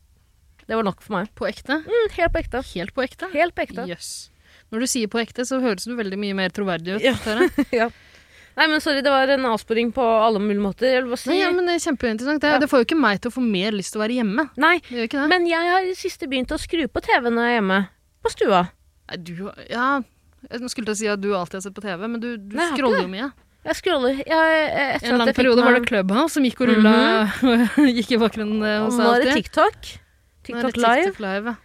S1: Det var nok for meg.
S2: På ekte?
S1: Mm, helt på ekte.
S2: Helt på ekte?
S1: Helt på ekte.
S2: Jøss. Når du sier på ekte, så høres du veldig mye mer troverdig ut.
S1: Ja.
S2: Tara.
S1: Nei, men sorry, det var en avsporing på alle mulige måter. Jeg vil bare si
S2: Nei, ja, men det er kjempeinteressant. Det,
S1: Mm. Ja.
S2: det får jo ikke meg til å få mer lyst til å være hjemme.
S1: Nei,
S2: Det gjør ikke det.
S1: men jeg har i det siste begynt å skru på TV når jeg er hjemme. På stua.
S2: Nei, du, ja, jeg skulle til å si at du alltid har sett på TV, men du, du
S1: Nei, jeg har
S2: scroller jo mye.
S1: Jeg scroller. Jeg, eh,
S2: I
S1: etter
S2: en
S1: at
S2: lang
S1: jeg fikk
S2: periode var
S1: meg-
S2: det Clubhouse som gikk og rulla Gikk i bakgrunnen eh,
S1: Og
S2: hos deg
S1: Nå er det
S2: alltid.
S1: TikTok.
S2: Nå er det
S1: TikTok Live.
S2: TikTok Live. ja.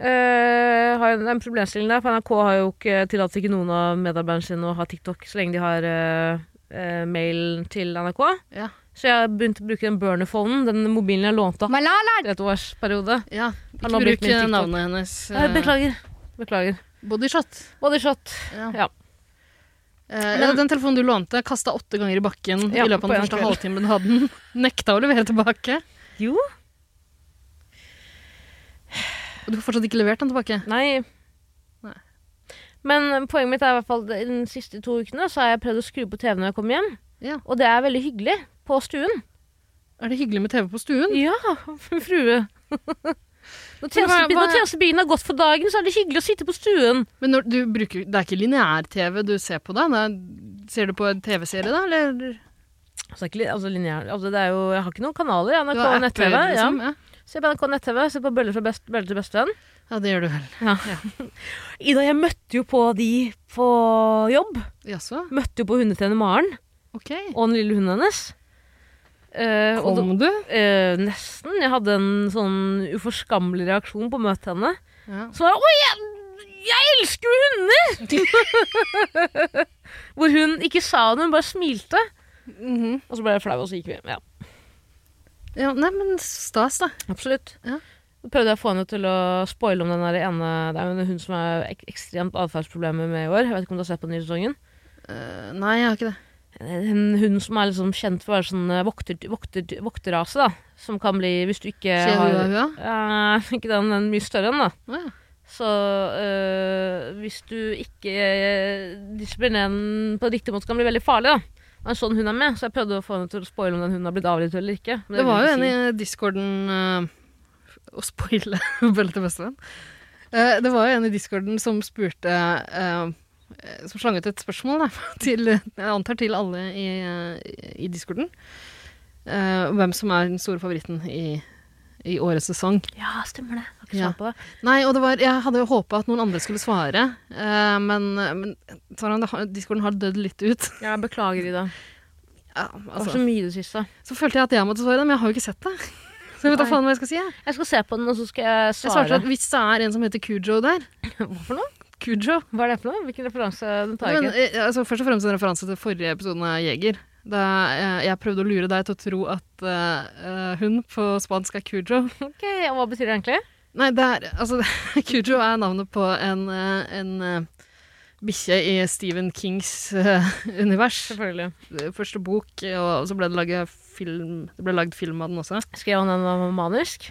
S1: Eh, har en, en problemstilling der, for NRK har jo ikke tillatt ikke noen av medarbeiderne sine å ha TikTok så lenge de har eh, eh, mail til NRK.
S2: Ja.
S1: Så jeg begynte å bruke den burnerphonen, den mobilen jeg lånte av et års periode.
S2: Ja,
S1: Han
S2: ikke
S1: har brukt
S2: bruk
S1: min TikTok.
S2: navnet hennes.
S1: Eh,
S2: eh,
S1: beklager. Beklager.
S2: Bodyshot.
S1: Bodyshot.
S2: Ja.
S1: Ja.
S2: Eh,
S1: Men-
S2: den telefonen du lånte, kasta åtte ganger i bakken
S1: Ja,
S2: i løpet av
S1: på
S2: den
S1: en
S2: første
S1: kveld.
S2: halvtimen du hadde den. Nekta å levere tilbake.
S1: Jo.
S2: Og du har fortsatt ikke levert den tilbake.
S1: Nei.
S2: Nei.
S1: Men poenget mitt er i hvert fall i de siste to ukene så har jeg prøvd å skru på TV når jeg kommer hjem.
S2: Ja.
S1: Og det er veldig hyggelig. På stuen.
S2: Er det hyggelig med TV på stuen?
S1: Ja, frue. Når
S2: hva-
S1: tjenestebilen,
S2: hva-
S1: når tjenestebilen har gått for dagen, så er det hyggelig å sitte på stuen.
S2: Men når, du bruker, det er ikke lineær-TV du ser på da? Det er, ser du på en TV-serie da, eller?
S1: Altså, ikke li- altså, lineær, altså, det er jo, jeg har ikke noen kanaler. Jeg har
S2: Du har
S1: NRK
S2: apper,
S1: nett-TV. Ja.
S2: liksom, ja.
S1: Se på NRK nett-TV. Se på Bøller, fra best, Bøller til bestevenn.
S2: Ja, det gjør du vel.
S1: Ida, jeg møtte jo på de på jobb.
S2: Jaså,
S1: Møtte jo på hundetrener Maren
S2: ok.
S1: og den lille hunden hennes. Eh, og da-
S2: Kom du?
S1: Eh, nesten. Jeg hadde en sånn uforskammelig reaksjon på å møte henne.
S2: Ja.
S1: Så var jeg, Oi, jeg, jeg elsker jo hunder! Hvor hun ikke sa det, hun bare smilte.
S2: Mhm.
S1: Og så ble jeg flau, og så gikk vi hjem. Ja,
S2: ja, nei, men stas da.
S1: absolutt.
S2: Ja.
S1: Så prøvde jeg å få henne til å spoile om den der ene Det er jo en hund som er ek ekstremt atferdsproblemer med i år. Jeg vet ikke om du har sett på den nye sesongen.
S2: Eh, nei, jeg har ikke det.
S1: En hund som er liksom kjent for å være sånn eh, vokter, vokter, vokterrase, da. Som kan bli, hvis du ikke
S2: Ser du hva
S1: har
S2: hun har?
S1: Eh, Ikke den, den er mye større enn, da.
S2: Å, ja.
S1: Så øh, hvis du ikke øh, disiplinerer den på riktig måte, kan det bli veldig farlig. da. Og en sånn hund er med, så jeg prøvde å få henne til å spoile om den hunden har blitt avlivet eller ikke. men
S2: Det var jo
S1: ville
S2: en
S1: hun
S2: i
S1: ikke
S2: discorden eh, Å spoile Bølle til bestevenn. Eh, det var jo en i discorden som spurte eh, eh, Som slang ut et spørsmål, da, til, jeg antar til alle i, eh, i discorden. eh, om hvem som er den store favoritten i, i årets sesong.
S1: si. Ja, stemmer det. Jeg har ikke
S2: Ja.
S1: svart på det.
S2: Nei, og det var, jeg hadde jo håpa at noen andre skulle svare, eh, men, men Taran, det har- discorden har dødd litt ut.
S1: Jeg beklager, Ida. Det
S2: Ja,
S1: var
S2: altså.
S1: så mye i det siste.
S2: Så følte jeg at jeg måtte svare, men jeg har jo ikke sett det. Så jeg vet da
S1: Nei.
S2: faen hva jeg skal si. jeg.
S1: Jeg skal se på den, og så skal jeg
S2: Jeg
S1: svare.
S2: svarte at hvis det er en som heter Kujo der
S1: Hva for noe?
S2: Kujo?
S1: Hva er det for noe? Hvilken referanse? Den tar jeg
S2: Men,
S1: ikke.
S2: eh, altså, først og fremst en referanse til forrige episoden av Jeger. Da eh, jeg prøvde å lure deg til å tro at eh, eh, hun på spansk er Kujo.
S1: Ok, og Hva betyr det egentlig?
S2: Nei, det er Altså, Kujo er navnet på en, eh, en eh, bikkje i Stephen Kings eh, univers.
S1: Selvfølgelig.
S2: Første bok, eh, og så ble det laget film, det ble lagd film av den også.
S1: Skrev han den av manisk?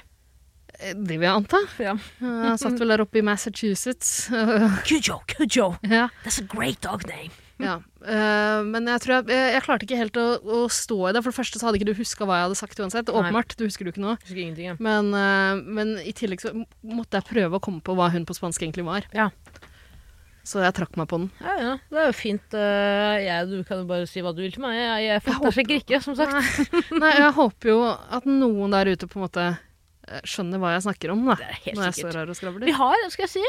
S2: Eh, Det vil jeg anta.
S1: Ja.
S2: Eh, satt vel der oppe i Massachusetts.
S1: Kujo, Kujo.
S2: ja.
S1: That's a great dog name.
S2: Ja, eh, men jeg tror jeg, jeg, jeg klarte ikke helt å, å stå i det. For det første så hadde ikke du huska hva jeg hadde sagt uansett.
S1: Nei.
S2: Åpenbart, du husker det jo ikke nå.
S1: Jeg husker ingenting, jeg.
S2: Men, eh, men i tillegg så måtte jeg prøve å komme på hva hun på spansk egentlig var.
S1: Ja.
S2: Så jeg trakk meg på den.
S1: Ja, ja. Det er jo fint. eh, Jeg, du kan jo bare si hva du vil til meg. Jeg, jeg fatter sikkert ikke, som sagt.
S2: Nei, jeg håper jo at noen der ute på en måte eh, skjønner hva jeg snakker om, da.
S1: Det
S2: Når jeg
S1: er helt sikkert.
S2: står her og skravler.
S1: Vi har, skal jeg si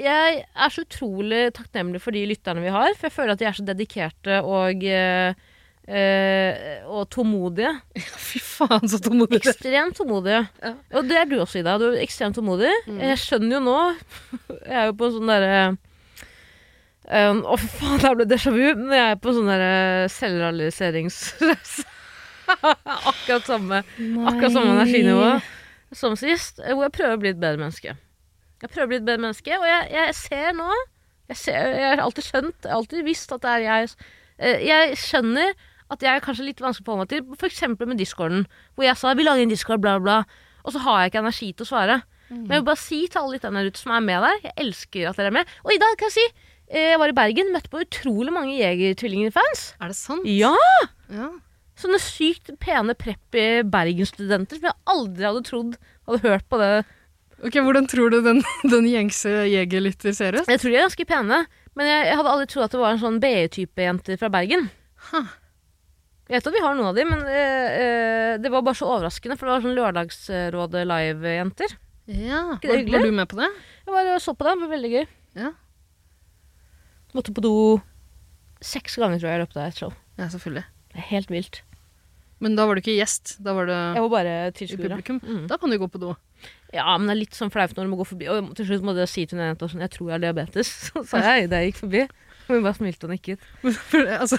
S1: Jeg er så utrolig takknemlig for de lytterne vi har, for jeg føler at de er så dedikerte og eh, eh, og tålmodige.
S2: Fy faen, så tålmodig. det er.
S1: Ekstremt tålmodige.
S2: Ja. Mm.
S1: Og det er du også, Ida. Du er ekstremt tålmodig. Jeg skjønner jo nå Jeg er jo på sånn derre eh, Å, fy faen, der ble det déjà vu. Men jeg er på sånn derre selvrealiseringsreise. Akkurat samme Akkurat samme energinivå som sist, eh, hvor jeg prøver å bli et bedre menneske. Jeg prøver å bli et bedre menneske, og jeg, jeg ser nå jeg, ser, jeg har alltid skjønt, jeg har alltid visst at det er jeg eh, Jeg skjønner at jeg er kanskje litt vanskelig å forholde meg til, f.eks. med discorden, hvor jeg sa 'vi lager en discord', bla, bla, bla, og så har jeg ikke energi til å svare. Men jeg vil bare si til alle lytterne der ute som er med der, jeg elsker at dere er med. Og i dag kan jeg si, eh, jeg var i Bergen, møtte på utrolig mange Jegertvillingene-fans.
S2: Er det sant?
S1: Ja!
S2: Ja.
S1: Sånne sykt pene, preppy Bergen-studenter som jeg aldri hadde trodd hadde hørt på det.
S2: Ok, Hvordan tror du den, den gjengse jegerlytter ser ut?
S1: Jeg tror de er ganske pene, men jeg, jeg hadde aldri trodd at det var en sånn BE-type jenter fra Bergen.
S2: Huh.
S1: Jeg vet at vi har noen av dem, men eh, eh, det var bare så overraskende, for det var sånn Lørdagsrådet live-jenter.
S2: Ja,
S1: det
S2: Var,
S1: hyggelig?
S2: var du med på det?
S1: Jeg bare så på dem, det var veldig gøy.
S2: Ja.
S1: Måtte på do seks ganger, tror jeg, i løpet av et show.
S2: Ja, selvfølgelig.
S1: Det er helt vilt.
S2: Men da var du ikke gjest, da var du
S1: Jeg var bare
S2: i
S1: tilskuer. da.
S2: publikum.
S1: Mm.
S2: Da kan du gå på do.
S1: Ja, men det er litt sånn flaut når du må gå forbi. Og til slutt måtte jeg si til hun jenta sånn Jeg tror jeg har diabetes. Så sa jeg da jeg gikk forbi. Og hun bare smilte og nikket.
S2: For, altså,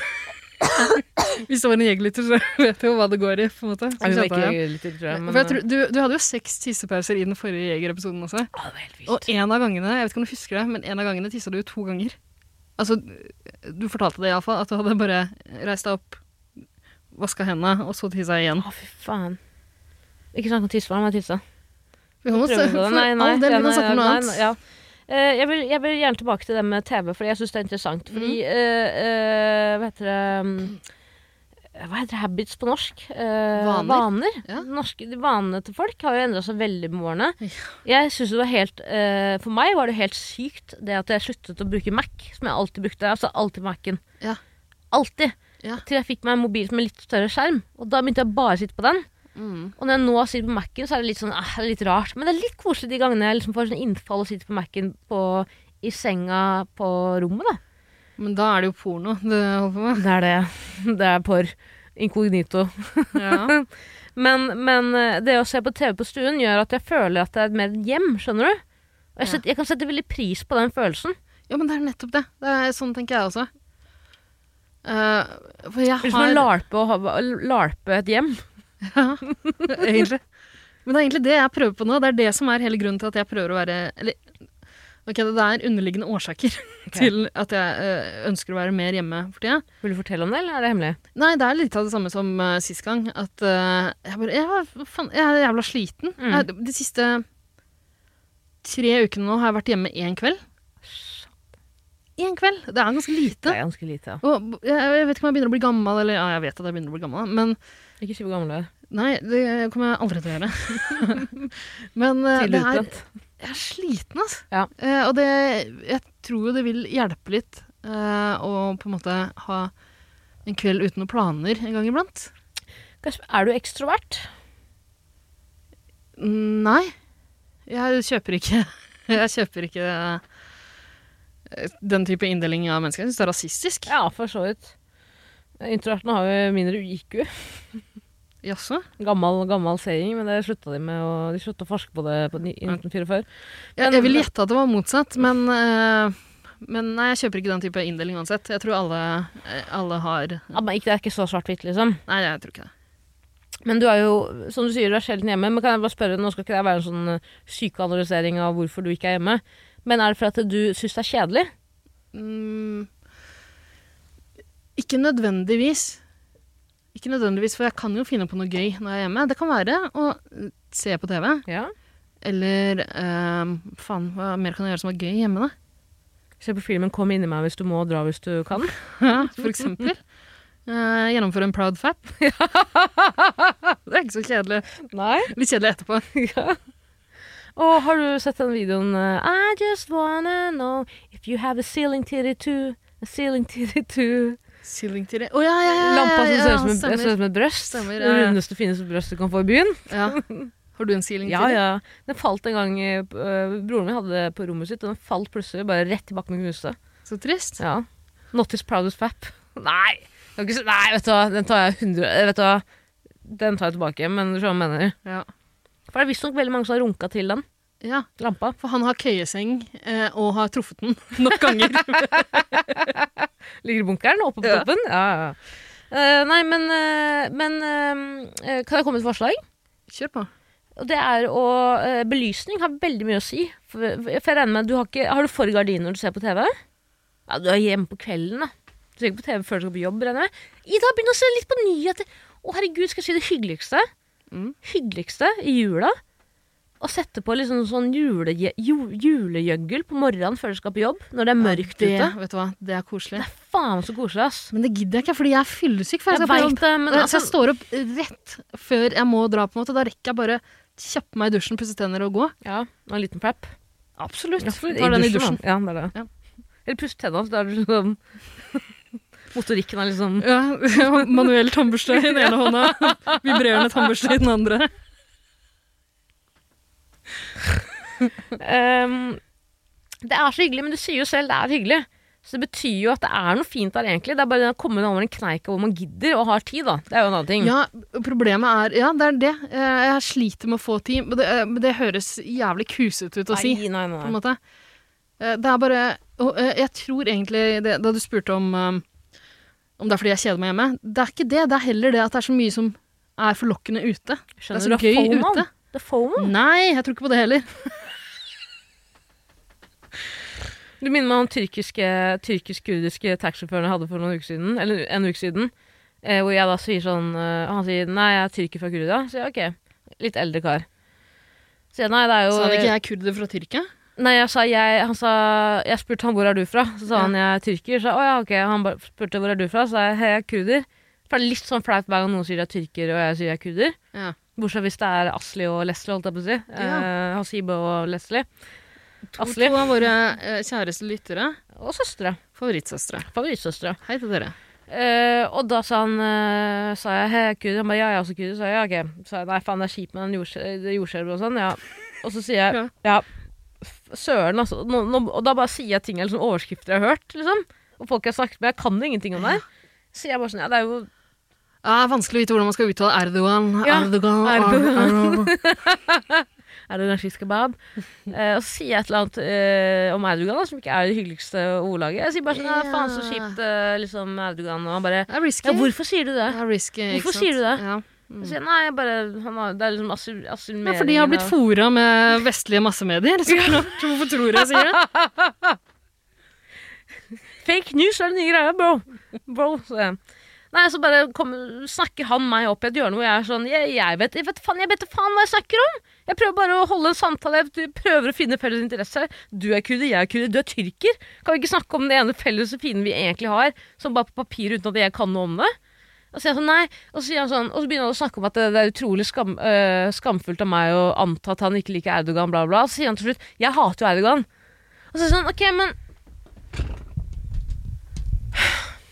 S2: hvis det var en jegerlytter, så vet jeg jo hva det går i. på en måte. Så
S1: Hun var
S2: skjønte
S1: ikke
S2: jeg det.
S1: litt til, tror jeg, men,
S2: For jeg tror, du, du hadde jo seks tissepauser i den forrige Jeger-episoden også.
S1: Å, det var helt vilt.
S2: Og en av gangene jeg vet ikke om du husker det, men en av gangene tissa du jo to ganger. Altså, Du fortalte det iallfall, at du hadde bare reist deg opp, vaska hendene, og så tissa igjen.
S1: Å, fy faen. Ikke snakk om tissefaren, men tissa.
S2: Vi kan jo
S1: Prøver
S2: se-
S1: du på
S2: for
S1: det? Nei, nei,
S2: all del, vi
S1: nei,
S2: kan snakke om noe
S1: nei,
S2: annet.
S1: nei, Ja. Eh, jeg, vil, jeg vil gjerne tilbake til det med TV, fordi jeg syns det er interessant. Fordi
S2: Mm.
S1: eh, eh, Hva heter det mm, Hva heter det, habits på norsk? Eh,
S2: Vaner. Ja.
S1: Norske, de vanene til folk har jo endra seg veldig med årene.
S2: Ja.
S1: Jeg synes det var helt eh, For meg var det helt sykt det at jeg sluttet å bruke Mac, som jeg alltid brukte. Altså alltid Mac-en.
S2: Ja.
S1: Alltid.
S2: Ja.
S1: Til jeg fikk meg en mobil med litt større skjerm. Og da begynte jeg bare å sitte på den.
S2: Mm.
S1: Og når jeg nå sitter på Mac-en, så er det litt sånn, ah, det er litt rart. Men det er litt koselig de gangene jeg liksom får sånn innfall og sitter på Mac-en på, i senga på rommet, da.
S2: Men da er det jo porno du holder på med.
S1: Det er det. Det er por. Inkognito.
S2: Ja.
S1: Men, men eh, det å se på TV på stuen gjør at jeg føler at det er mer hjem, skjønner du? Og jeg,
S2: Ja.
S1: setter, jeg kan sette veldig pris på den følelsen.
S2: ja, men det er nettopp det. det er, sånn tenker jeg også. Eh, for jeg
S1: Det er Liksom å
S2: har
S1: larpe, og ha, larpe et hjem.
S2: Ja, egentlig. Men det er egentlig det jeg prøver på nå. Det er det som er hele grunnen til at jeg prøver å være eller, Ok, det er underliggende årsaker til at jeg eh, ønsker å være mer hjemme for tida.
S1: Vil du fortelle om det, eller er det hemmelig?
S2: Nei, det er litt av det samme som uh, sist gang. At eh, jeg bare jeg, er- faen, jeg er jævla sliten.
S1: Mm.
S2: Jeg, de siste tre ukene nå har jeg vært hjemme én kveld. Én kveld! Det er ganske
S1: Det
S2: lite.
S1: er ganske lite. ja.
S2: Og jeg, jeg vet ikke om jeg begynner å bli gammel, eller ja, jeg vet at jeg begynner å bli gammel, men
S1: Ikke si hvor gammel du er.
S2: nei, det kommer jeg aldri til å gjøre. men eh,
S1: Tidlig
S2: det er
S1: utbrent.
S2: Jeg er sliten, altså.
S1: Ja.
S2: Eh, og det, jeg tror jo det vil hjelpe litt eh, å på en måte ha en kveld uten noen planer en gang iblant.
S1: Kasper, Er du ekstrovert?
S2: Mm, Nei. Jeg kjøper ikke Jeg kjøper ikke eh, den type inndeling av mennesker. Jeg syns det er rasistisk.
S1: Ja, for så vidt. Introvertene har jo mindre IQ.
S2: Jaså?
S1: Gammel, gammel saying, men det slutta de med. Og de slutta å forske på det på ni- i 1944.
S2: Jeg, jeg ville gjette at det var motsatt, men, eh, men nei, jeg kjøper ikke den type inndeling uansett. Jeg tror alle, eh, alle har
S1: Ja, men ikke, det er ikke så svart-hvitt, liksom.
S2: Nei, jeg tror ikke det.
S1: Men du er jo, som du sier, du er sjelden hjemme. Men kan jeg bare spørre, nå skal ikke det være en sånn eh, psykoanalysering av hvorfor du ikke er hjemme. Men er det for at du syns det er kjedelig?
S2: Mm, ikke nødvendigvis. Ikke nødvendigvis, for jeg kan jo finne på noe gøy når jeg er hjemme. Det kan være å se på TV,
S1: Ja.
S2: eller eh, faen, hva mer kan jeg gjøre som er gøy hjemme, da?
S1: Se på filmen 'Kom inni meg hvis du må, dra hvis du kan'.
S2: For eksempel. Eh, gjennomføre en proud fap. det er ikke så kjedelig.
S1: Nei.
S2: Litt kjedelig etterpå.
S1: Ja. Og har du sett den videoen eh, I just wanna know if you have a ceiling titty too. A ceiling titty too.
S2: Ceiling til det. Å ja, ja, ja, ja,
S1: Lampa som
S2: ja,
S1: ser ut som, en-
S2: stemmer.
S1: ser ut som et brøst.
S2: Stemmer,
S1: det
S2: ja, ja.
S1: rundeste, fineste brøstet du kan få i byen.
S2: Ja. Har du en ceiling
S1: Ja,
S2: til det?
S1: ja. Den falt en gang eh, p- øh, Broren min hadde det på rommet sitt, og den falt plutselig bare rett i bakken og knuste.
S2: Så trist.
S1: Ja. Not his proudest fap. Nei! Det var ikke så- Nei, vet du hva, den tar jeg 100 eh, Vet du hva, den tar jeg tilbake, men du skjønner hva jeg mener.
S2: Ja.
S1: For det er visstnok veldig mange som har runka til den
S2: ja.
S1: lampa.
S2: For han har køyeseng eh, og har truffet den nok ganger.
S1: Ligger i bunkeren oppe på
S2: Ja.
S1: toppen. Ja, ja. Eh, nei, men, eh, men eh, kan jeg komme med et forslag?
S2: Kjør på.
S1: Og det er å eh, Belysning har veldig mye å si. For, for jeg regner med, du har, ikke, har du for gardiner når du ser på TV? Ja, du er hjemme på kvelden, da. Du ser ikke på TV før du skal på jobb, regner jeg med. Ida, begynn å se litt på nyheter. Å, herregud, skal jeg si det hyggeligste?
S2: Mm.
S1: Hyggeligste i jula? Å sette på liksom sånn jule, ju, julegjøggel på morgenen før du skal på jobb, når det er mørkt
S2: det,
S1: ute.
S2: Vet du hva, det er koselig.
S1: Det er faen så koselig, ass.
S2: Men det gidder jeg ikke, fordi jeg er fyllesyk. før Jeg
S1: Jeg
S2: skal på
S1: veit
S2: jobb. Eh,
S1: det, men
S2: så
S1: altså,
S2: jeg står opp rett før jeg må dra, på en måte. Da rekker jeg bare kjappe meg i dusjen, pusse tenner og gå.
S1: Ja, og en liten prep.
S2: Absolutt.
S1: Ja, for-
S2: Tar den i dusjen.
S1: da. Ja, det er det.
S2: Ja.
S1: Eller pusse tennene, så da er det sånn Motorikken er liksom
S2: Ja, Manuell tannbørste i den ene hånda, vibrerende tannbørste i den andre.
S1: Ehm, Det er så hyggelig, men du sier jo selv det er hyggelig. Så det betyr jo at det er noe fint der, egentlig. Det er bare det å komme over en kneik hvor man gidder og har tid, da. Det er jo en annen ting.
S2: Ja, problemet er Ja, det er det. Eh, Jeg sliter med å få tid. Men det, eh, men det høres jævlig kusete ut å si.
S1: Nei, nei,
S2: på en
S1: nei.
S2: måte. Eh, Det er bare og, eh, Jeg tror egentlig det, Da du spurte om eh, Om det er fordi jeg kjeder meg hjemme Det er ikke det, det er heller det at det er så mye som er forlokkende ute
S1: Skjønner
S2: det er så
S1: du, det er
S2: gøy
S1: FOMO.
S2: ute.
S1: Det er
S2: Mm.
S1: FOMO.
S2: Nei, jeg tror ikke på det heller
S1: Du minner meg om tyrkiske, tyrkisk-kurdiske taxisjåføren jeg hadde for noen uker siden, eller en uke siden, eh, hvor jeg da sier sånn eh, Og han sier 'nei, jeg er tyrker fra Kurdia'. Så jeg ok, litt eldre kar. Så jeg nei, det er
S2: eh,
S1: jo
S2: Så er det ikke jeg kurder fra Tyrkia
S1: Nei, jeg sa jeg Han sa Jeg spurte han hvor er du fra. Så sa han jeg er tyrker. Så sa, jeg, å, ja, ok Han bare spurte hvor er du fra. Så sa jeg hei, jeg er kurder. For det er litt sånn flaut hver gang noen sier de er tyrker og jeg sier jeg er kurder.
S2: Ja.
S1: Bortsett hvis det er Asli og Leslie, holdt jeg på å si. Eh, Hasibe og Leslie.
S2: To,
S1: Asli.
S2: to av våre eh, kjæreste lyttere.
S1: Og søstre.
S2: Favorittsøstre.
S1: Favorittsøstre.
S2: Hei til dere.
S1: Eh, og da sa han eh, Sa jeg hei, jeg er kurder. Han bare ja, jeg er også kurder. Så sa jeg ja, ok. Så sa jeg nei, faen, det er kjipt med den jordskjel- det jordskjelvet og sånn. Ja. Og så sier jeg
S2: Ja.
S1: ja, f- søren, altså. Nå, nå, og da bare sier jeg ting eller sånn overskrifter jeg har hørt, liksom. Og folk jeg har snakket med. Jeg kan jo ingenting om det. her. Så sier jeg bare sånn ja, det er jo
S2: Ja, vanskelig å vite hvordan man skal uttale Erdogan.
S1: Ja,
S2: Erdogan.
S1: Erdogan.
S2: Erdogan.
S1: Er det nazist kebab? Eh, og så sier jeg et eller annet eh, om Erdogan, da, som ikke er det hyggeligste ordlaget. Jeg sier bare sånn ja,
S2: Ja.
S1: faen så kjipt, eh, liksom, Erdogan. Og han bare
S2: Det er risky.
S1: ja, hvorfor sier du det?
S2: Det er risky, ikke
S1: Hvorfor
S2: sant?
S1: sier du det?
S2: Ja.
S1: Jeg sier nei, jeg bare han har, Det er liksom assil-
S2: Men
S1: assimileringen
S2: fordi jeg har blitt
S1: av-
S2: fora med vestlige massemedier. Så klart. Hvorfor tror jeg sier det?
S1: Fake news er den nye greia, bro. bro så, jeg- Nei, så bare kom, snakker han meg opp i et hjørne hvor jeg er sånn Jeg, jeg vet jeg vet faen jeg vet da faen hva jeg snakker om! Jeg prøver bare å holde en samtale, jeg prøver å finne felles interesser. Du er kurder, jeg er kurder, du er tyrker. Kan vi ikke snakke om den ene felles fienden vi egentlig har, som bare på papir uten at jeg kan noe om det? Og så, sier jeg sånn, nei. og så, sier han sånn, og så begynner han å snakke om at det, det er utrolig skam, øh, skamfullt av meg å anta at han ikke liker Erdogan, bla, bla. Så sier han til slutt 'jeg hater jo Erdogan'. Og så er det sånn, ok, men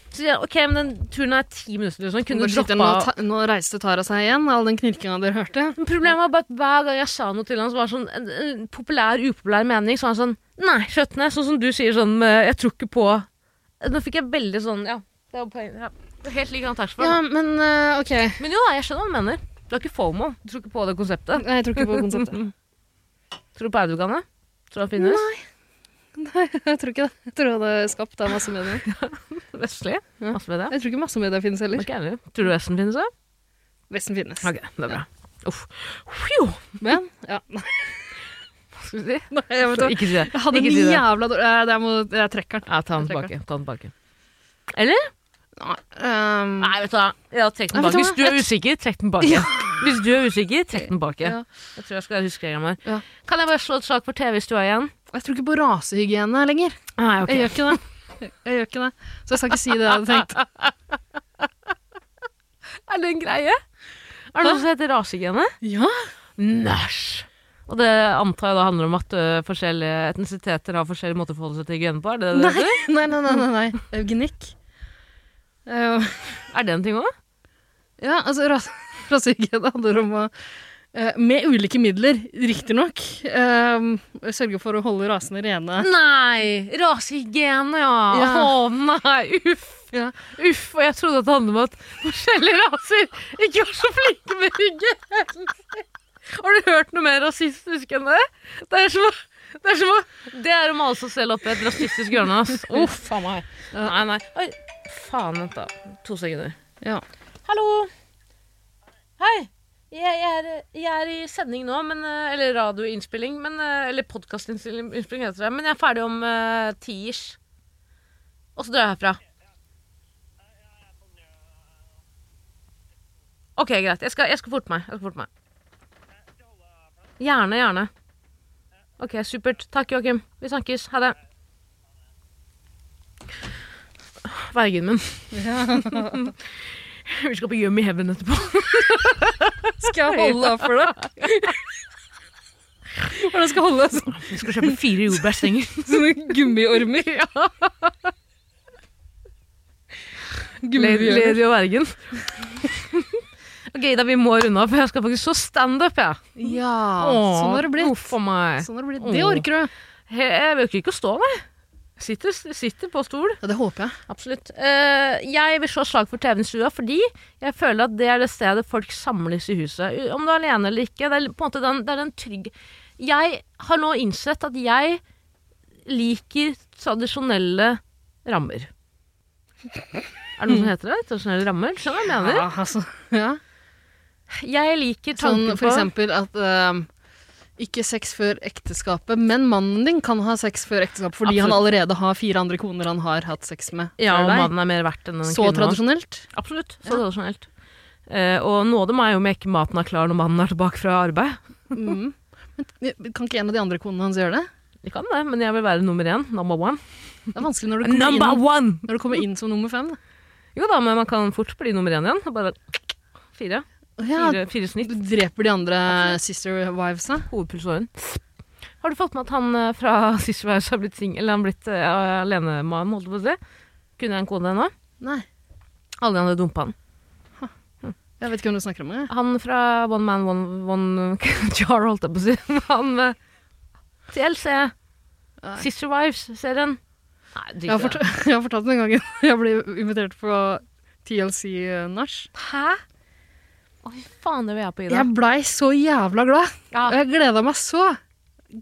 S1: Så sier jeg, ok, men den turen er ti minutter, liksom. Kunne
S2: Nå
S1: du
S2: sitter-
S1: droppa
S2: Nå, ta- nå reiste Tara seg igjen, all den knirkinga dere hørte.
S1: Men Problemet var bare at hver gang jeg sa noe til han som var sånn en, en populær, upopulær mening, så var han sånn Nei, skjøttene. Sånn som du sier sånn med, Jeg tror ikke på Nå fikk jeg veldig sånn Ja, det var poenget. Ja. Det er Helt lik han taxfree.
S2: Ja, men eh, OK.
S1: Men jo da, jeg skjønner hva han mener. Du har ikke fomo. Du tror ikke på det konseptet.
S2: Nei, Jeg tror ikke på konseptet.
S1: Tror du på Erdogan? da? Tror du han finnes?
S2: Nei, jeg tror ikke det. Jeg tror det er skapt av massemedier.
S1: Vestlig?
S2: Ja.
S1: Masse med det.
S2: Jeg tror ikke massemedier finnes heller.
S1: Ok, ærlig. Tror du Vesten finnes òg?
S2: Vesten finnes.
S1: Ok, det er bra. Uff. Fjo!
S2: Men ja. Nei,
S1: Hva skal vi si?
S2: jeg vet hva.
S1: Ikke si det.
S2: Jeg hadde
S1: Ikke
S2: en
S1: si det.
S2: jævla dårlig eh, det er mot- Jeg trekker den.
S1: Ja, ta den
S2: Jeg trekker
S1: tilbake. Ta den tilbake. Eller?
S2: Um,
S1: Nei, vet du hva. Ja, trekk den
S2: Nei, vet
S1: bak.
S2: du
S1: Hvis
S2: hva?
S1: du er
S2: Jeg-
S1: usikker, trekk den bak. Hvis du er usikker, trekk den bak.
S2: Ja.
S1: Jeg tror jeg skal huske reglene her.
S2: Ja.
S1: Kan jeg bare slå et slag for TV-stua igjen?
S2: Jeg tror ikke på rasehygiene lenger.
S1: Nei, ok.
S2: Jeg gjør ikke det. Jeg gjør ikke det. Så jeg skal ikke si det jeg hadde tenkt.
S1: Er det en greie? Er det noe som heter rasehygiene?
S2: Ja,
S1: Næsj! Og det antar jeg da handler om at ø, forskjellige etnisiteter har forskjellige måter å forholde seg til hygiene på? Er det, det,
S2: Nei, nei, nei, nei, nei, nei. Eugenikk. Eh,
S1: er det en ting òg?
S2: ja, altså ras rasehygiene handler om å eh, med ulike midler, riktignok, eh, sørge for å holde rasene rene.
S1: Nei! Rasehygiene, ja! Å nei, uff!
S2: Ja.
S1: Uff, og jeg trodde at det handlet om at forskjellige raser ikke var så flinke med hygiene. Har du hørt noe mer rasistisk enn det? Det er som å det er, som å- det er å male seg selv opp i et rasistisk hjørne. ass. Uff a meg. Nei, nei. Oi, faen, vent, da. To sekunder.
S2: Ja.
S1: Hallo. Hei. Jeg, jeg, er, jeg er i sending nå, men, eh, eller radioinnspilling, men, eh, eller podkastinnspilling, heter det. Men jeg er ferdig om eh, tiers. Og så drar jeg herfra. Ok, greit. Jeg skal, jeg skal forte meg. Jeg skal forte meg. Gjerne, gjerne. Ok, supert. Takk, Joakim. Vi snakkes. Ha det. Vergen min. Vi skal på Yummy Heaven etterpå.
S2: Skal jeg holde av for det? Hvordan skal jeg holde av sånne,
S1: Vi skal kjøpe fire jordbærstenger.
S2: sånne gummiormer? Gummiormer.
S1: Lady og Vergen. ok, da vi må runde av, for jeg skal faktisk så standup, jeg.
S2: Ja, sånn har det blitt.
S1: Uff a meg.
S2: Sånn har det blitt. Det orker du.
S1: He- Jeg orker ikke å stå, nei. Sitter, sitter på stol.
S2: Ja, det håper jeg.
S1: Absolutt. Eh, jeg vil slå slag for TV-en stua fordi jeg føler at det er det stedet folk samles i huset. U- Om du er alene eller ikke. Det er på en måte den, det er den trygg... Jeg har nå innsett at jeg liker tradisjonelle rammer. Er det noe som heter det? Tradisjonelle rammer? Skjønner du hva jeg mener?
S2: Ja, altså. Ja.
S1: Jeg liker
S2: Sånn
S1: tanken
S2: for eksempel at ehm, ikke sex før ekteskapet, men mannen din kan ha sex før ekteskapet fordi han
S1: Absolutt.
S2: allerede har fire andre koner han har hatt sex med
S1: på ja,
S2: før
S1: om
S2: deg.
S1: mannen er mer verdt enn en
S2: Så
S1: kvinne.
S2: tradisjonelt.
S1: Absolutt. Så tradisjonelt. Eh, og nåde meg om jeg ikke maten er klar når mannen er tilbake fra arbeid.
S2: Mm. Men kan ikke en av de andre konene hans gjøre det?
S1: Jeg kan det, men jeg vil være nummer én. Number one.
S2: Det er vanskelig når du kommer,
S1: Number
S2: inn,
S1: one!
S2: når du kommer inn som nummer fem. da.
S1: Jo da, men man kan fort bli nummer én igjen. Bare fire.
S2: Ja,
S1: Fire, fire snitt.
S2: du dreper de andre sister wivesa.
S1: Hovedpulsåren. Har du fått med at han eh, fra sist vi var her, så har blitt singel, eller han blitt uh, alenemann, holdt jeg på å si? Kunne jeg en kone ennå?
S2: Nei,
S1: Alle de andre dumpa han.
S2: jeg vet ikke hvem du snakker om. Jeg.
S1: Han fra One Man One, One Jar, holdt jeg på å si. Han eh, med TLC,
S2: Nei.
S1: Sister Wives-serien. Nei,
S2: Jeg, har
S1: drit i det.
S2: fortalt, jeg har fortalt den gangen jeg ble invitert på TLC-nach.
S1: Hæ? Oi, faen, det vil jeg på, Ida.
S2: Jeg blei så jævla glad. Og
S1: Ja.
S2: jeg gleda meg så.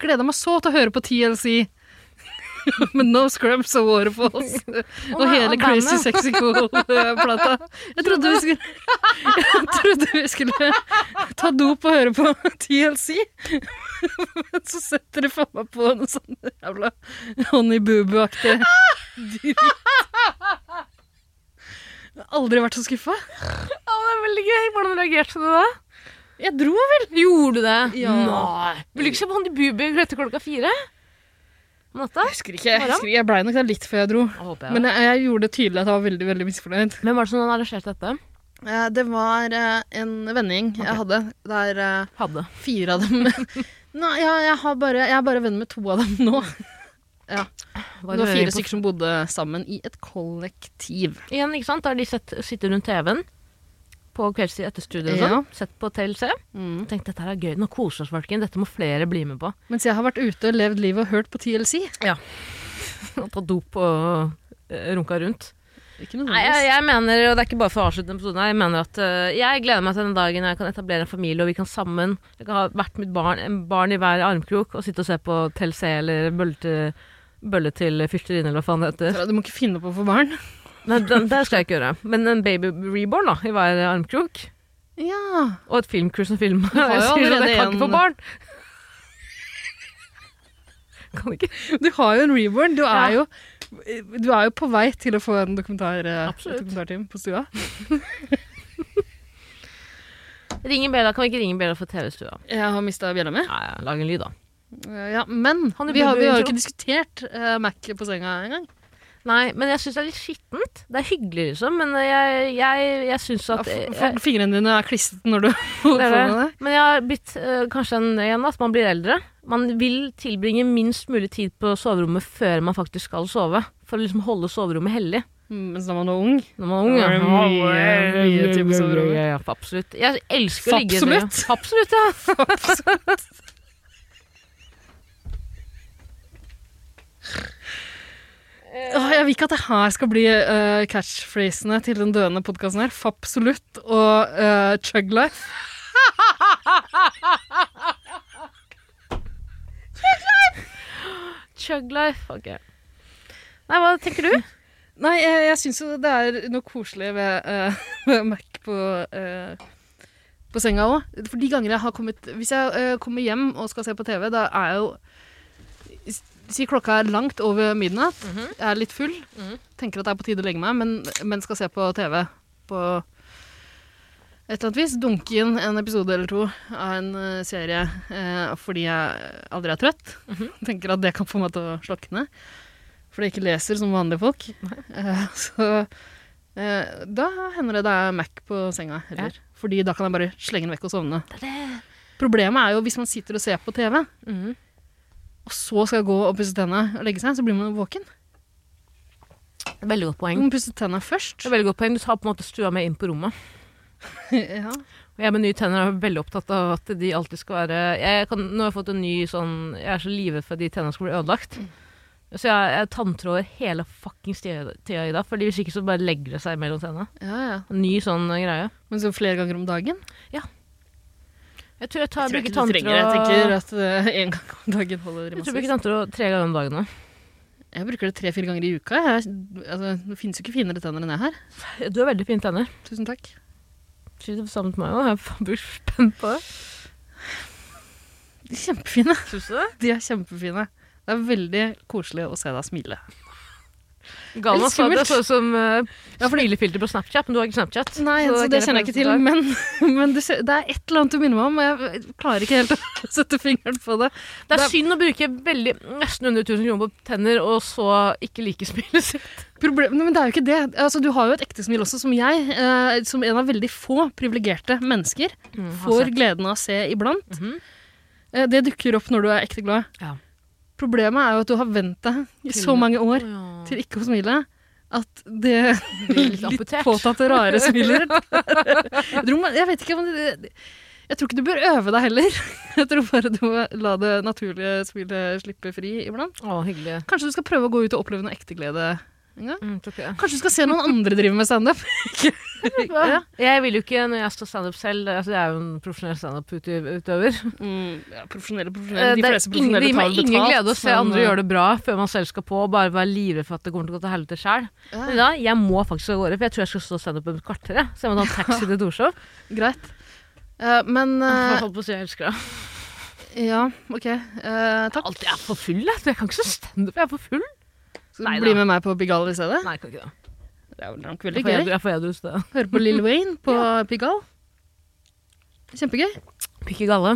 S2: Gleda meg så til å høre på TLC. Med No Scrubs og Waterfalls og
S1: nei,
S2: hele
S1: og
S2: Crazy
S1: bandet.
S2: Sexy Cool-plata. Jeg trodde vi skulle Jeg trodde vi skulle ta dop og høre på TLC. Men så setter de faen meg på noe sånn jævla Honey Boo-Boo-aktig dritt. Jeg har aldri vært så skuffa.
S1: Å, det er veldig gøy. Hvordan reagerte du da?
S2: Jeg dro
S1: Gjorde du det?
S2: Ja.
S1: Nei. Vil du ikke se på han i Bubi etter klokka fire? Om natta?
S2: Jeg husker ikke. Jeg, husker, ikke. jeg blei nok der litt før jeg dro.
S1: håper
S2: Men jeg, jeg gjorde det tydelig at jeg var veldig veldig misfornøyd.
S1: Hvem var det som arrangerte dette?
S2: Det var eh, en vennegjeng jeg hadde, der eh,
S1: Hadde.
S2: fire av dem Nei, jeg, har bare, jeg er bare venn med to av dem nå. Det var fire stykker som bodde sammen i et kollektiv.
S1: Igjen, ikke sant? Da har de sett, sittet rundt TV-en på kveldstid etter studio og
S2: Ja.
S1: sånn. Sett på TLC.
S2: Mm.
S1: Og tenkt dette her er gøy. Nå koser vi oss, folkens. Dette må flere bli med på.
S2: Mens jeg har vært ute, levd livet og hørt på TLC.
S1: Og ta dop og eh, runka rundt.
S2: Ikke
S1: Nei, jeg,
S2: nødvendigvis.
S1: jeg mener, og det er ikke bare for å avslutte denne episoden, her, jeg mener at øh, jeg gleder meg til den dagen jeg kan etablere en familie, og vi kan sammen Jeg kan ha hvert mitt barn, en barn i hver armkrok, og sitte og se på TLC eller Bølle til, bølle til fyrsterinne, eller hva faen det heter.
S2: Sara, Du må ikke finne på å få barn.
S1: Nei, den, det skal jeg ikke gjøre. Men en baby reborn, da, i hver armkrok.
S2: Ja.
S1: Og et filmcrew som filmer.
S2: har jo
S1: Jeg sier at
S2: allerede
S1: jeg kan ikke
S2: en-
S1: få barn. Kan ikke.
S2: Du har jo en reborn. Du er,
S1: Ja.
S2: jo, du er jo på vei til å få en dokumentar, eh, et
S1: Absolutt.
S2: dokumentarteam på stua.
S1: Ring Bella. Kan vi ikke ringe Bella for TV-stua?
S2: Jeg har mista bjella mi.
S1: Nei, ja, lag en lyd, da.
S2: Eh, Ja, men
S1: Han er
S2: vi har,
S1: blodbøy,
S2: vi har jo
S1: tror.
S2: ikke diskutert eh, Mac på senga engang.
S1: Nei, men jeg syns det er litt skittent. Det er hyggelig, liksom, men jeg, jeg, jeg syns
S2: Ja,
S1: at
S2: f- f-
S1: jeg,
S2: Fingrene dine er klissete når du holder
S1: det
S2: på
S1: er
S2: med
S1: det.
S2: det.
S1: Men jeg har blitt øh, kanskje en igjen at man blir eldre. Man vil tilbringe minst mulig tid på soverommet før man faktisk skal sove. For å liksom holde soverommet hellig
S2: Mm, Mens da man var ung.
S1: når man er ung. ja.
S2: Det er mye, mye tid på soverommet.
S1: Ja, ja, absolutt. Jeg elsker å ligge i det.
S2: Absolutt.
S1: Absolutt, ja.
S2: Åh, jeg vil ikke at det her skal bli uh, catchphrasene til den døende podkasten her. Fabsolutt og uh, Chuglife.
S1: Chug life. Ok. Nei, hva tenker du?
S2: Nei, jeg, jeg syns jo det er noe koselig ved, eh, med Mac på, eh, på senga òg. For de ganger jeg har kommet Hvis jeg eh, kommer hjem og skal se på TV, da er jeg jo s- Si klokka er langt over midnatt, jeg er litt full, tenker at det er på tide å legge meg, men, men skal se på TV på et eller annet vis. Dunke inn en episode eller to av en eh, serie eh, fordi jeg aldri er trøtt. Tenker at det kan få meg til å slokne. Fordi jeg ikke leser som vanlige folk. Eh, så eh, da hender det det er Mac på senga heller. Fordi da kan jeg bare slenge den vekk og sovne. Problemet er jo hvis man sitter og ser på TV,
S1: Mhm.
S2: og så skal gå og pusse tennene og legge seg, så blir man våken.
S1: Veldig godt
S2: Man
S1: poeng.
S2: må pusse tennene først.
S1: Det er veldig godt poeng. Du tar på en måte stua med inn på rommet.
S2: ja.
S1: Og Jeg med nye tenner er veldig opptatt av at de alltid skal være jeg kan, Nå har jeg fått en ny sånn Jeg er så livredd for at de tennene skal bli ødelagt.
S2: Mm.
S1: Så jeg, jeg tanntråder hele fuckings tida tida i dag, Fordi hvis ikke så bare legger det seg mellom tennene.
S2: Ja, ja.
S1: En ny sånn eh, greie.
S2: Men så flere ganger om dagen?
S1: Jeg tror jeg, tar,
S2: Tror jeg
S1: bruker
S2: ikke du trenger det. Jeg tenker
S1: tanntråd
S2: at eh, en gang om dagen holder i
S1: jeg tror jeg
S2: massevis.
S1: bruker tanntråd tre ganger om dagen nå.
S2: Jeg bruker det tre-fire ganger i uka. Jeg, altså, det finnes jo ikke finere tenner enn jeg har.
S1: Du har veldig fine tenner.
S2: Tusen takk.
S1: Sier det samme til meg òg. Jeg er faen blir spent på det.
S2: De er kjempefine.
S1: Syns du det?
S2: De er kjempefine. Det er veldig koselig å se deg smile.
S1: Galvan
S2: Litt
S1: sa det
S2: skummelt.
S1: sånn som uh,
S2: Ja, fordi-
S1: smilefilter på Snapchat, men du har ikke Snapchat.
S2: Nei, så det kjenner jeg ikke til, men, men du, ser- det er et eller annet du minner meg om. og Jeg klarer ikke helt å sette fingeren på det.
S1: Det er
S2: Det-
S1: synd å bruke veldig, mm, nesten 100 000 kroner på tenner, og så ikke like spillet sitt.
S2: Problem, Nei, men det er jo ikke det. Altså, du har jo et ekte smil også, som jeg, eh, som en av veldig få privilegerte mennesker,
S1: Mm,
S2: får gleden av å se iblant.
S1: altså. Mhm.
S2: Eh, det dukker opp når du er ekte glad.
S1: Ja.
S2: Problemet er jo at du har vent deg i
S1: Til
S2: så
S1: det.
S2: mange år
S1: Ja.
S2: til ikke å smile, at det
S1: Blir litt
S2: litt,
S1: amputert.
S2: påtatte, rare smilet ditt Jeg tror man- Jeg vet ikke om det Jeg tror ikke du bør øve deg heller. Jeg tror bare du må la det naturlige smilet slippe fri iblant.
S1: Å, hyggelig.
S2: Kanskje du skal prøve å gå ut og oppleve noe ekte glede en gang?
S1: Mm, tror ikke det.
S2: Kanskje du skal se noen andre drive med standup?
S1: Ja. Jeg vil jo ikke, når jeg står standup selv altså Jeg er jo en profesjonell standup-utøver.
S2: Mm, ja, profesjonelle,
S1: Eh,
S2: profesjonelle. De
S1: det er
S2: fleste
S1: ingen-
S2: profesjonelle
S1: det gir
S2: tar
S1: meg
S2: betalt.
S1: ingen glede å se
S2: men, eh,
S1: andre gjøre det bra før man selv skal på, og bare være livredd for at det kommer til å gå til helvete sjøl.
S2: Ja.
S1: Men da, jeg må faktisk av gårde, for jeg tror jeg skal stå standup om et kvarter. jeg. Så jeg må ta en taxi til Torshov.
S2: Greit. Eh, men
S1: Jeg
S2: eh,
S1: holdt på å si jeg elsker deg.
S2: Ja, OK. Eh, takk.
S1: Alt, jeg er for full, jeg. Jeg kan ikke stå standup, jeg er for full.
S2: Skal
S1: Nei
S2: du
S1: da.
S2: bli med meg på Pigalle i stedet?
S1: Nei, jeg kan ikke det.
S2: Det er vel nok
S1: Jeg
S2: veldig
S1: får edru-
S2: gøy.
S1: jeg får edru sted.
S2: Høre på Lill Wayne på Pigalle. Kjempegøy.
S1: Pikk i galle.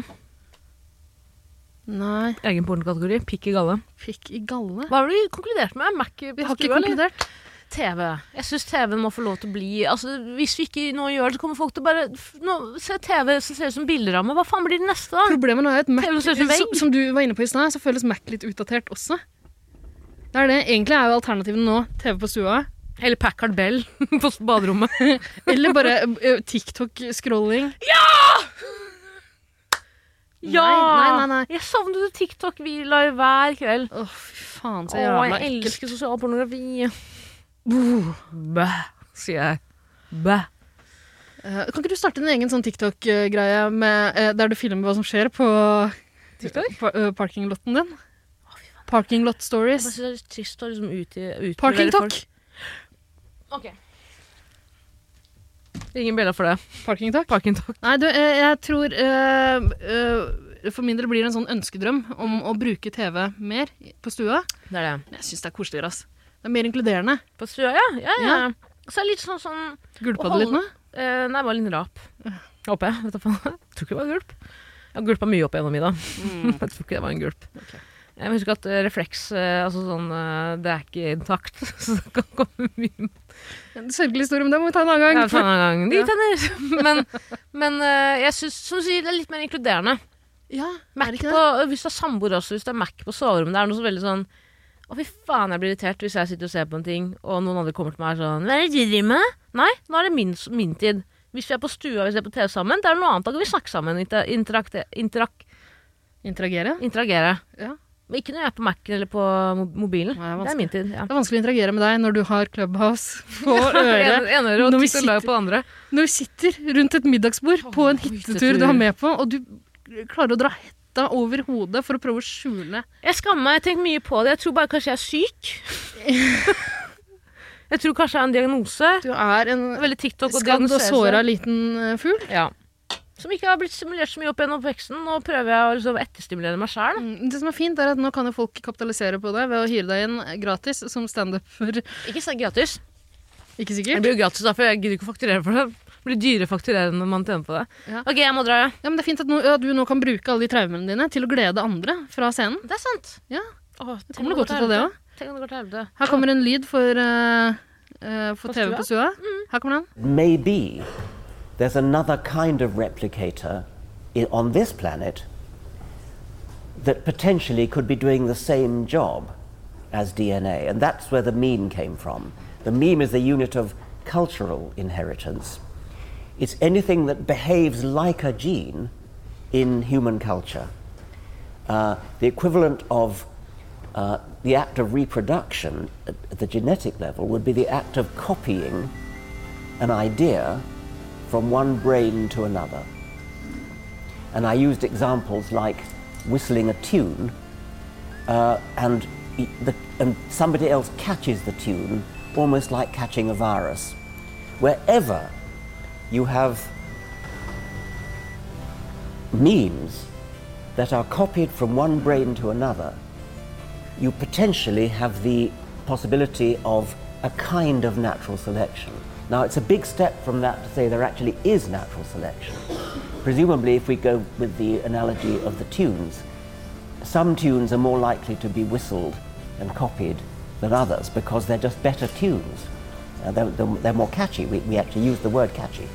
S2: Nei,
S1: Egen pornokategori. Pikk i galle.
S2: fikk i galle.
S1: Hva har du konkludert med? Mac på
S2: Vi har ikke
S1: stua, eller?
S2: konkludert.
S1: TV. Jeg syns TV må få lov til å bli altså, Hvis vi ikke nå gjør det, så kommer folk til å bare f- nå, Se TV som ser ut som bilderammer. Hva faen blir det neste, da?
S2: Ah, Problemet nå er at Mac,
S1: Det ser ut som
S2: som,
S1: vegg.
S2: som du var inne på i stad, så føles Mac litt utdatert også. Det er det. Egentlig er jo alternativene nå TV på stua.
S1: Eller Packard Bell på baderommet.
S2: Eller bare eh, ø, TikTok-scrolling.
S1: ja!
S2: Nei, nei, nei, nei.
S1: Jeg savnet TikTok-hviler hver kveld.
S2: Å, fy faen, så
S1: Å,
S2: jævla
S1: jeg
S2: ekkelt.
S1: elsker sosial pornografi. Bæ, sier jeg. Bæ.
S2: Eh, kan ikke du starte en egen sånn TikTok-greie med, eh, der du filmer hva som skjer på eh,
S1: TikTok?
S2: pa- ø, parkinglotten din? Parking lot
S1: Jeg bare
S2: stories.
S1: synes det er litt trist å liksom ut i ut
S2: Parking talk.
S1: Ingen bjeller for det.
S2: Parking talk.
S1: Parking talk.
S2: Nei, du, eh, jeg tror eh, eh, For min del blir det en sånn ønskedrøm om å bruke TV mer på stua.
S1: Det er det.
S2: Men jeg syns det er koseligere, ass. Det er mer inkluderende.
S1: På stua, ja. Ja, ja. Så er det litt sånn sånn
S2: Gulpa det litt nå?
S1: Eh, nei, det var en liten rap. Håper jeg. Vet du faen. Jeg tror ikke det var gulp. Jeg har gulpa mye opp igjennom Ida. Jeg tror ikke det var en gulp. Jeg husker at eh, refleks eh, altså sånn, eh, Det er ikke intakt, så det kan komme mye
S2: En Sørgelig historie, men det må vi ta en annen
S1: Ja,
S2: gang.
S1: ta en annen gang. De
S2: Ja.
S1: tenner! Men, men eh, jeg syns som du sier, det er litt mer inkluderende.
S2: Ja, er
S1: Mac
S2: det
S1: på,
S2: ikke det?
S1: hvis du er samboer også, hvis det er Mac på soverommet, det er noe så veldig sånn Å, fy faen, jeg blir irritert hvis jeg sitter og ser på en ting, og noen andre kommer til meg og er sånn Hva er det du driver med? Nei, nå er det min, min tid. Hvis vi er på stua og ser på TV sammen, det er noe annet. Da kan vi snakke sammen. Inter, interakte- interak,
S2: Interagere?
S1: interagere.
S2: Ja.
S1: Men ikke når jeg er på Mac-en eller på mo- mobilen.
S2: Nei,
S1: det
S2: vanskelig.
S1: er min tid. Ja.
S2: Det er vanskelig å interagere med deg når du har Clubhouse på øret.
S1: En- Enøre
S2: Når
S1: og
S2: vi
S1: titt og løp på det andre.
S2: Når du sitter rundt et middagsbord på en hyttetur du har med på, og du klarer å dra hetta over hodet for å prøve å skjule
S1: Jeg skammer meg. Jeg tenker mye på det. Jeg tror bare kanskje jeg er syk. jeg tror kanskje jeg har en diagnose.
S2: Du er en
S1: Veldig TikTok og
S2: skadd og
S1: diagnosere seg.
S2: såra liten eh, fugl.
S1: Ja. Som ikke har blitt stimulert så mye opp gjennom oppveksten. Nå prøver jeg å liksom etterstimulere meg sjæl.
S2: Mm, Det som er fint, er at nå kan jo folk kapitalisere på deg ved å hyre deg inn gratis som standuper.
S1: Ikke så gratis.
S2: Ikke
S1: Det
S2: sikkert?
S1: blir jo gratis, da, for jeg gidder ikke å fakturere for det. Det blir dyrere å fakturere når man tjener på det.
S2: Ja.
S1: Ok, jeg må dra, ja.
S2: Ja, men det er fint at nå, ja, du nå kan bruke alle de traumene dine til å glede andre fra scenen.
S1: Det er sant.
S2: Ja.
S1: Åh,
S2: Det
S1: tenk om
S2: kommer noe godt ut
S1: går
S2: av
S1: til
S2: det
S1: helvete.
S2: òg.
S1: Tenk om det går til helvete.
S2: Her kommer en lyd for, eh, eh, for
S1: På
S2: TV på stua. Mm. Her kommer den.
S3: Maybe there's another kind of replicator i- on this planet that potentially could be doing the same job as DNA. And that's where the meme came from. The meme is the unit of cultural inheritance. It's anything that behaves like a gene in human culture. Uh, the equivalent of uh, the act of reproduction at at the genetic level would be the act of copying an idea from one brain to another. And I used examples like whistling a tune, uh, and, y- the, and somebody else catches the tune, almost like catching a virus. Wherever you have memes that are copied from one brain to another, you potentially have the possibility of a kind of natural selection. Now, it's a big step from that to say there actually is natural selection. Presumably, if we go with the analogy of the tunes, some tunes are more likely to be whistled and copied than others because they're just better tunes. Uh, they're, they're, they're more catchy. We, we actually use the word catchy.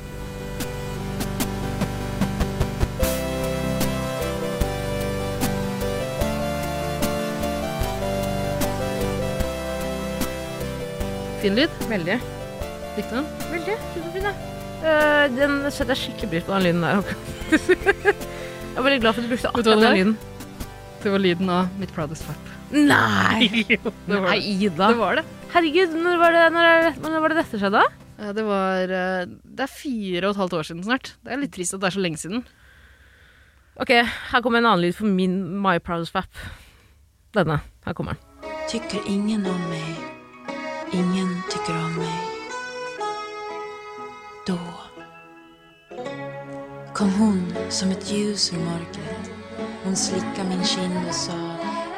S2: Fin lyd.
S1: Veldig.
S2: Likte den.
S1: Veldig. Superfin, da. Eh, den setter jeg skikkelig pris på, den lyden der. jeg er veldig glad for at du
S2: Vet du
S1: brukte
S2: hva
S1: akkurat den
S2: det
S1: lyden.
S2: Det var lyden av mitt proudest fap.
S1: Nei!
S2: det var
S1: Nei,
S2: det.
S1: Ida.
S2: Det var det.
S1: Herregud, når var det, når, er- når var det dette skjedde? da?
S2: Eh, Det var eh, Det er fire og et halvt år siden snart. Det er litt trist at det er så lenge siden.
S1: Ok, her kommer en annen lyd for min My Proudest Fap. Denne. Her kommer den.
S4: Tycker ingen om mig. Ingen tycker om mig. Då kom hon som ett ljus ur mörkret. Hon slickade min kind och sa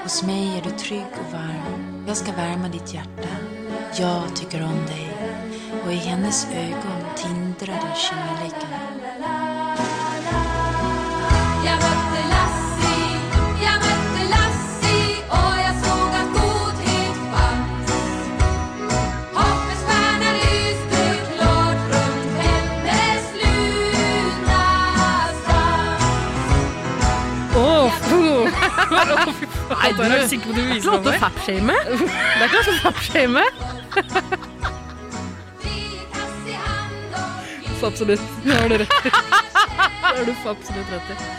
S4: Hos mig är du trygg och varm. Jag ska värma ditt hjärta. Jag tycker om dig. Och i hennes ögon tindrade kärleken.
S5: Jeg møtte Lassie, jeg møtte Lassie, og jeg såg at godhet fantes. Hoppets stjerner lyste klart rundt hennes luna svans.
S2: Åh, oh, Nei, du er sikker på at du
S1: Det er ikke lov til å
S2: meg.
S1: fap-shame. Det er ikke lov til å fap-shame.
S5: Vi kass i hand og
S2: Så absolutt. Det har du rett i. Det har du for absolutt rett i.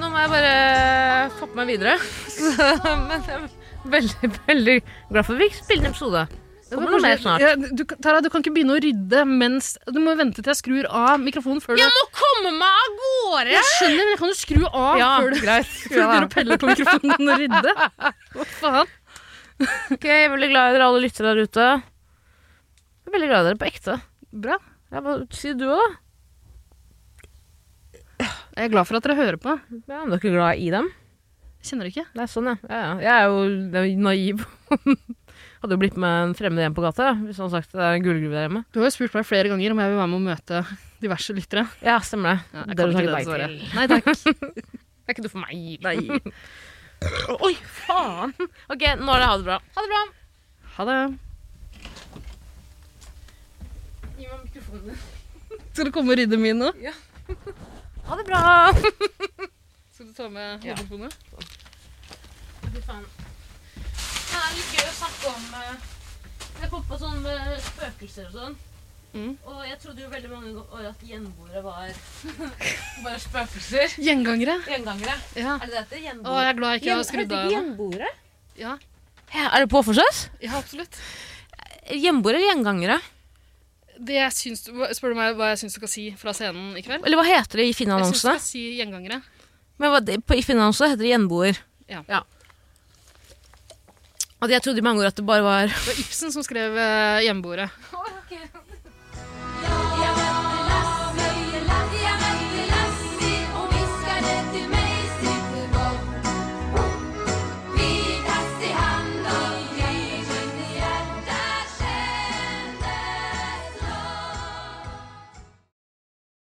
S1: Nå må jeg bare fappe meg videre. Så, men jeg er veldig, veldig glad for at vi spiller en episode. Det kommer noe mer snart.
S2: Ja, du, Tara, du kan ikke begynne å rydde mens Du må vente til jeg skrur av mikrofonen før du
S1: må komme meg av gårde!
S2: Jeg skjønner, men jeg kan jo skru av
S1: Ja,
S2: før du
S1: greit.
S2: før du begynner å pelle på mikrofonen din og rydde. Hva faen?
S1: Ok, jeg er veldig glad i dere alle lyttere der ute. Jeg er veldig glad i dere på ekte.
S2: Bra.
S1: Jeg bare, si du òg, da.
S2: Jeg er glad for at dere hører på.
S1: Ja, men du er ikke glad i dem?
S2: Kjenner dere ikke?
S1: Det er sånn, ja. ja, ja. Jeg er jo jeg er jo naiv. Hadde jo blitt med en fremmed hjem på gata ja, hvis han hadde sagt det er en gullgruve der hjemme.
S2: Du har jo spurt meg flere ganger om jeg vil være med og møte diverse lyttere.
S1: Ja, stemmer det.
S2: Ja, jeg kan
S1: det har du
S2: ikke det
S1: sagt nei
S2: svaret.
S1: til.
S2: Nei takk.
S1: Det er ikke noe for meg. Oi, faen! Ok, nå er det ha det bra. Ha det bra.
S2: Ha det.
S1: Gi meg mikrofonen din.
S2: Skal du komme og rydde min nå?
S1: Ha det bra.
S2: Skal du ta med
S1: Ja.
S2: hodetelefonene?
S1: Fy faen. Det er litt gøy å snakke om eh, Jeg kom på sånn eh, spøkelser og sånn.
S2: Mm.
S1: Og jeg trodde jo veldig mange år at gjenboere var bare spøkelser.
S2: Gjengangere.
S1: Gjengangere.
S2: Ja.
S1: Er det det heter?
S2: Å, jeg er glad jeg ikke har skrudd av ennå.
S1: Gjenboere?
S2: Ja.
S1: Er det påforses?
S2: ja, absolutt.
S1: Gjenboere eller gjengangere?
S2: Det jeg syns, hva- spør du meg hva jeg syns du skal si fra scenen i kveld?
S1: Eller hva heter det i
S2: Jeg syns du
S1: Finn-annonsene?
S2: skal si gjengangere.
S1: Men hva, det, på, I Finn-annonsene heter det gjenboer.
S2: Ja.
S1: Og jeg trodde i mange år at det bare var
S2: Det var Ibsen som skrev eh, hjemmeboere.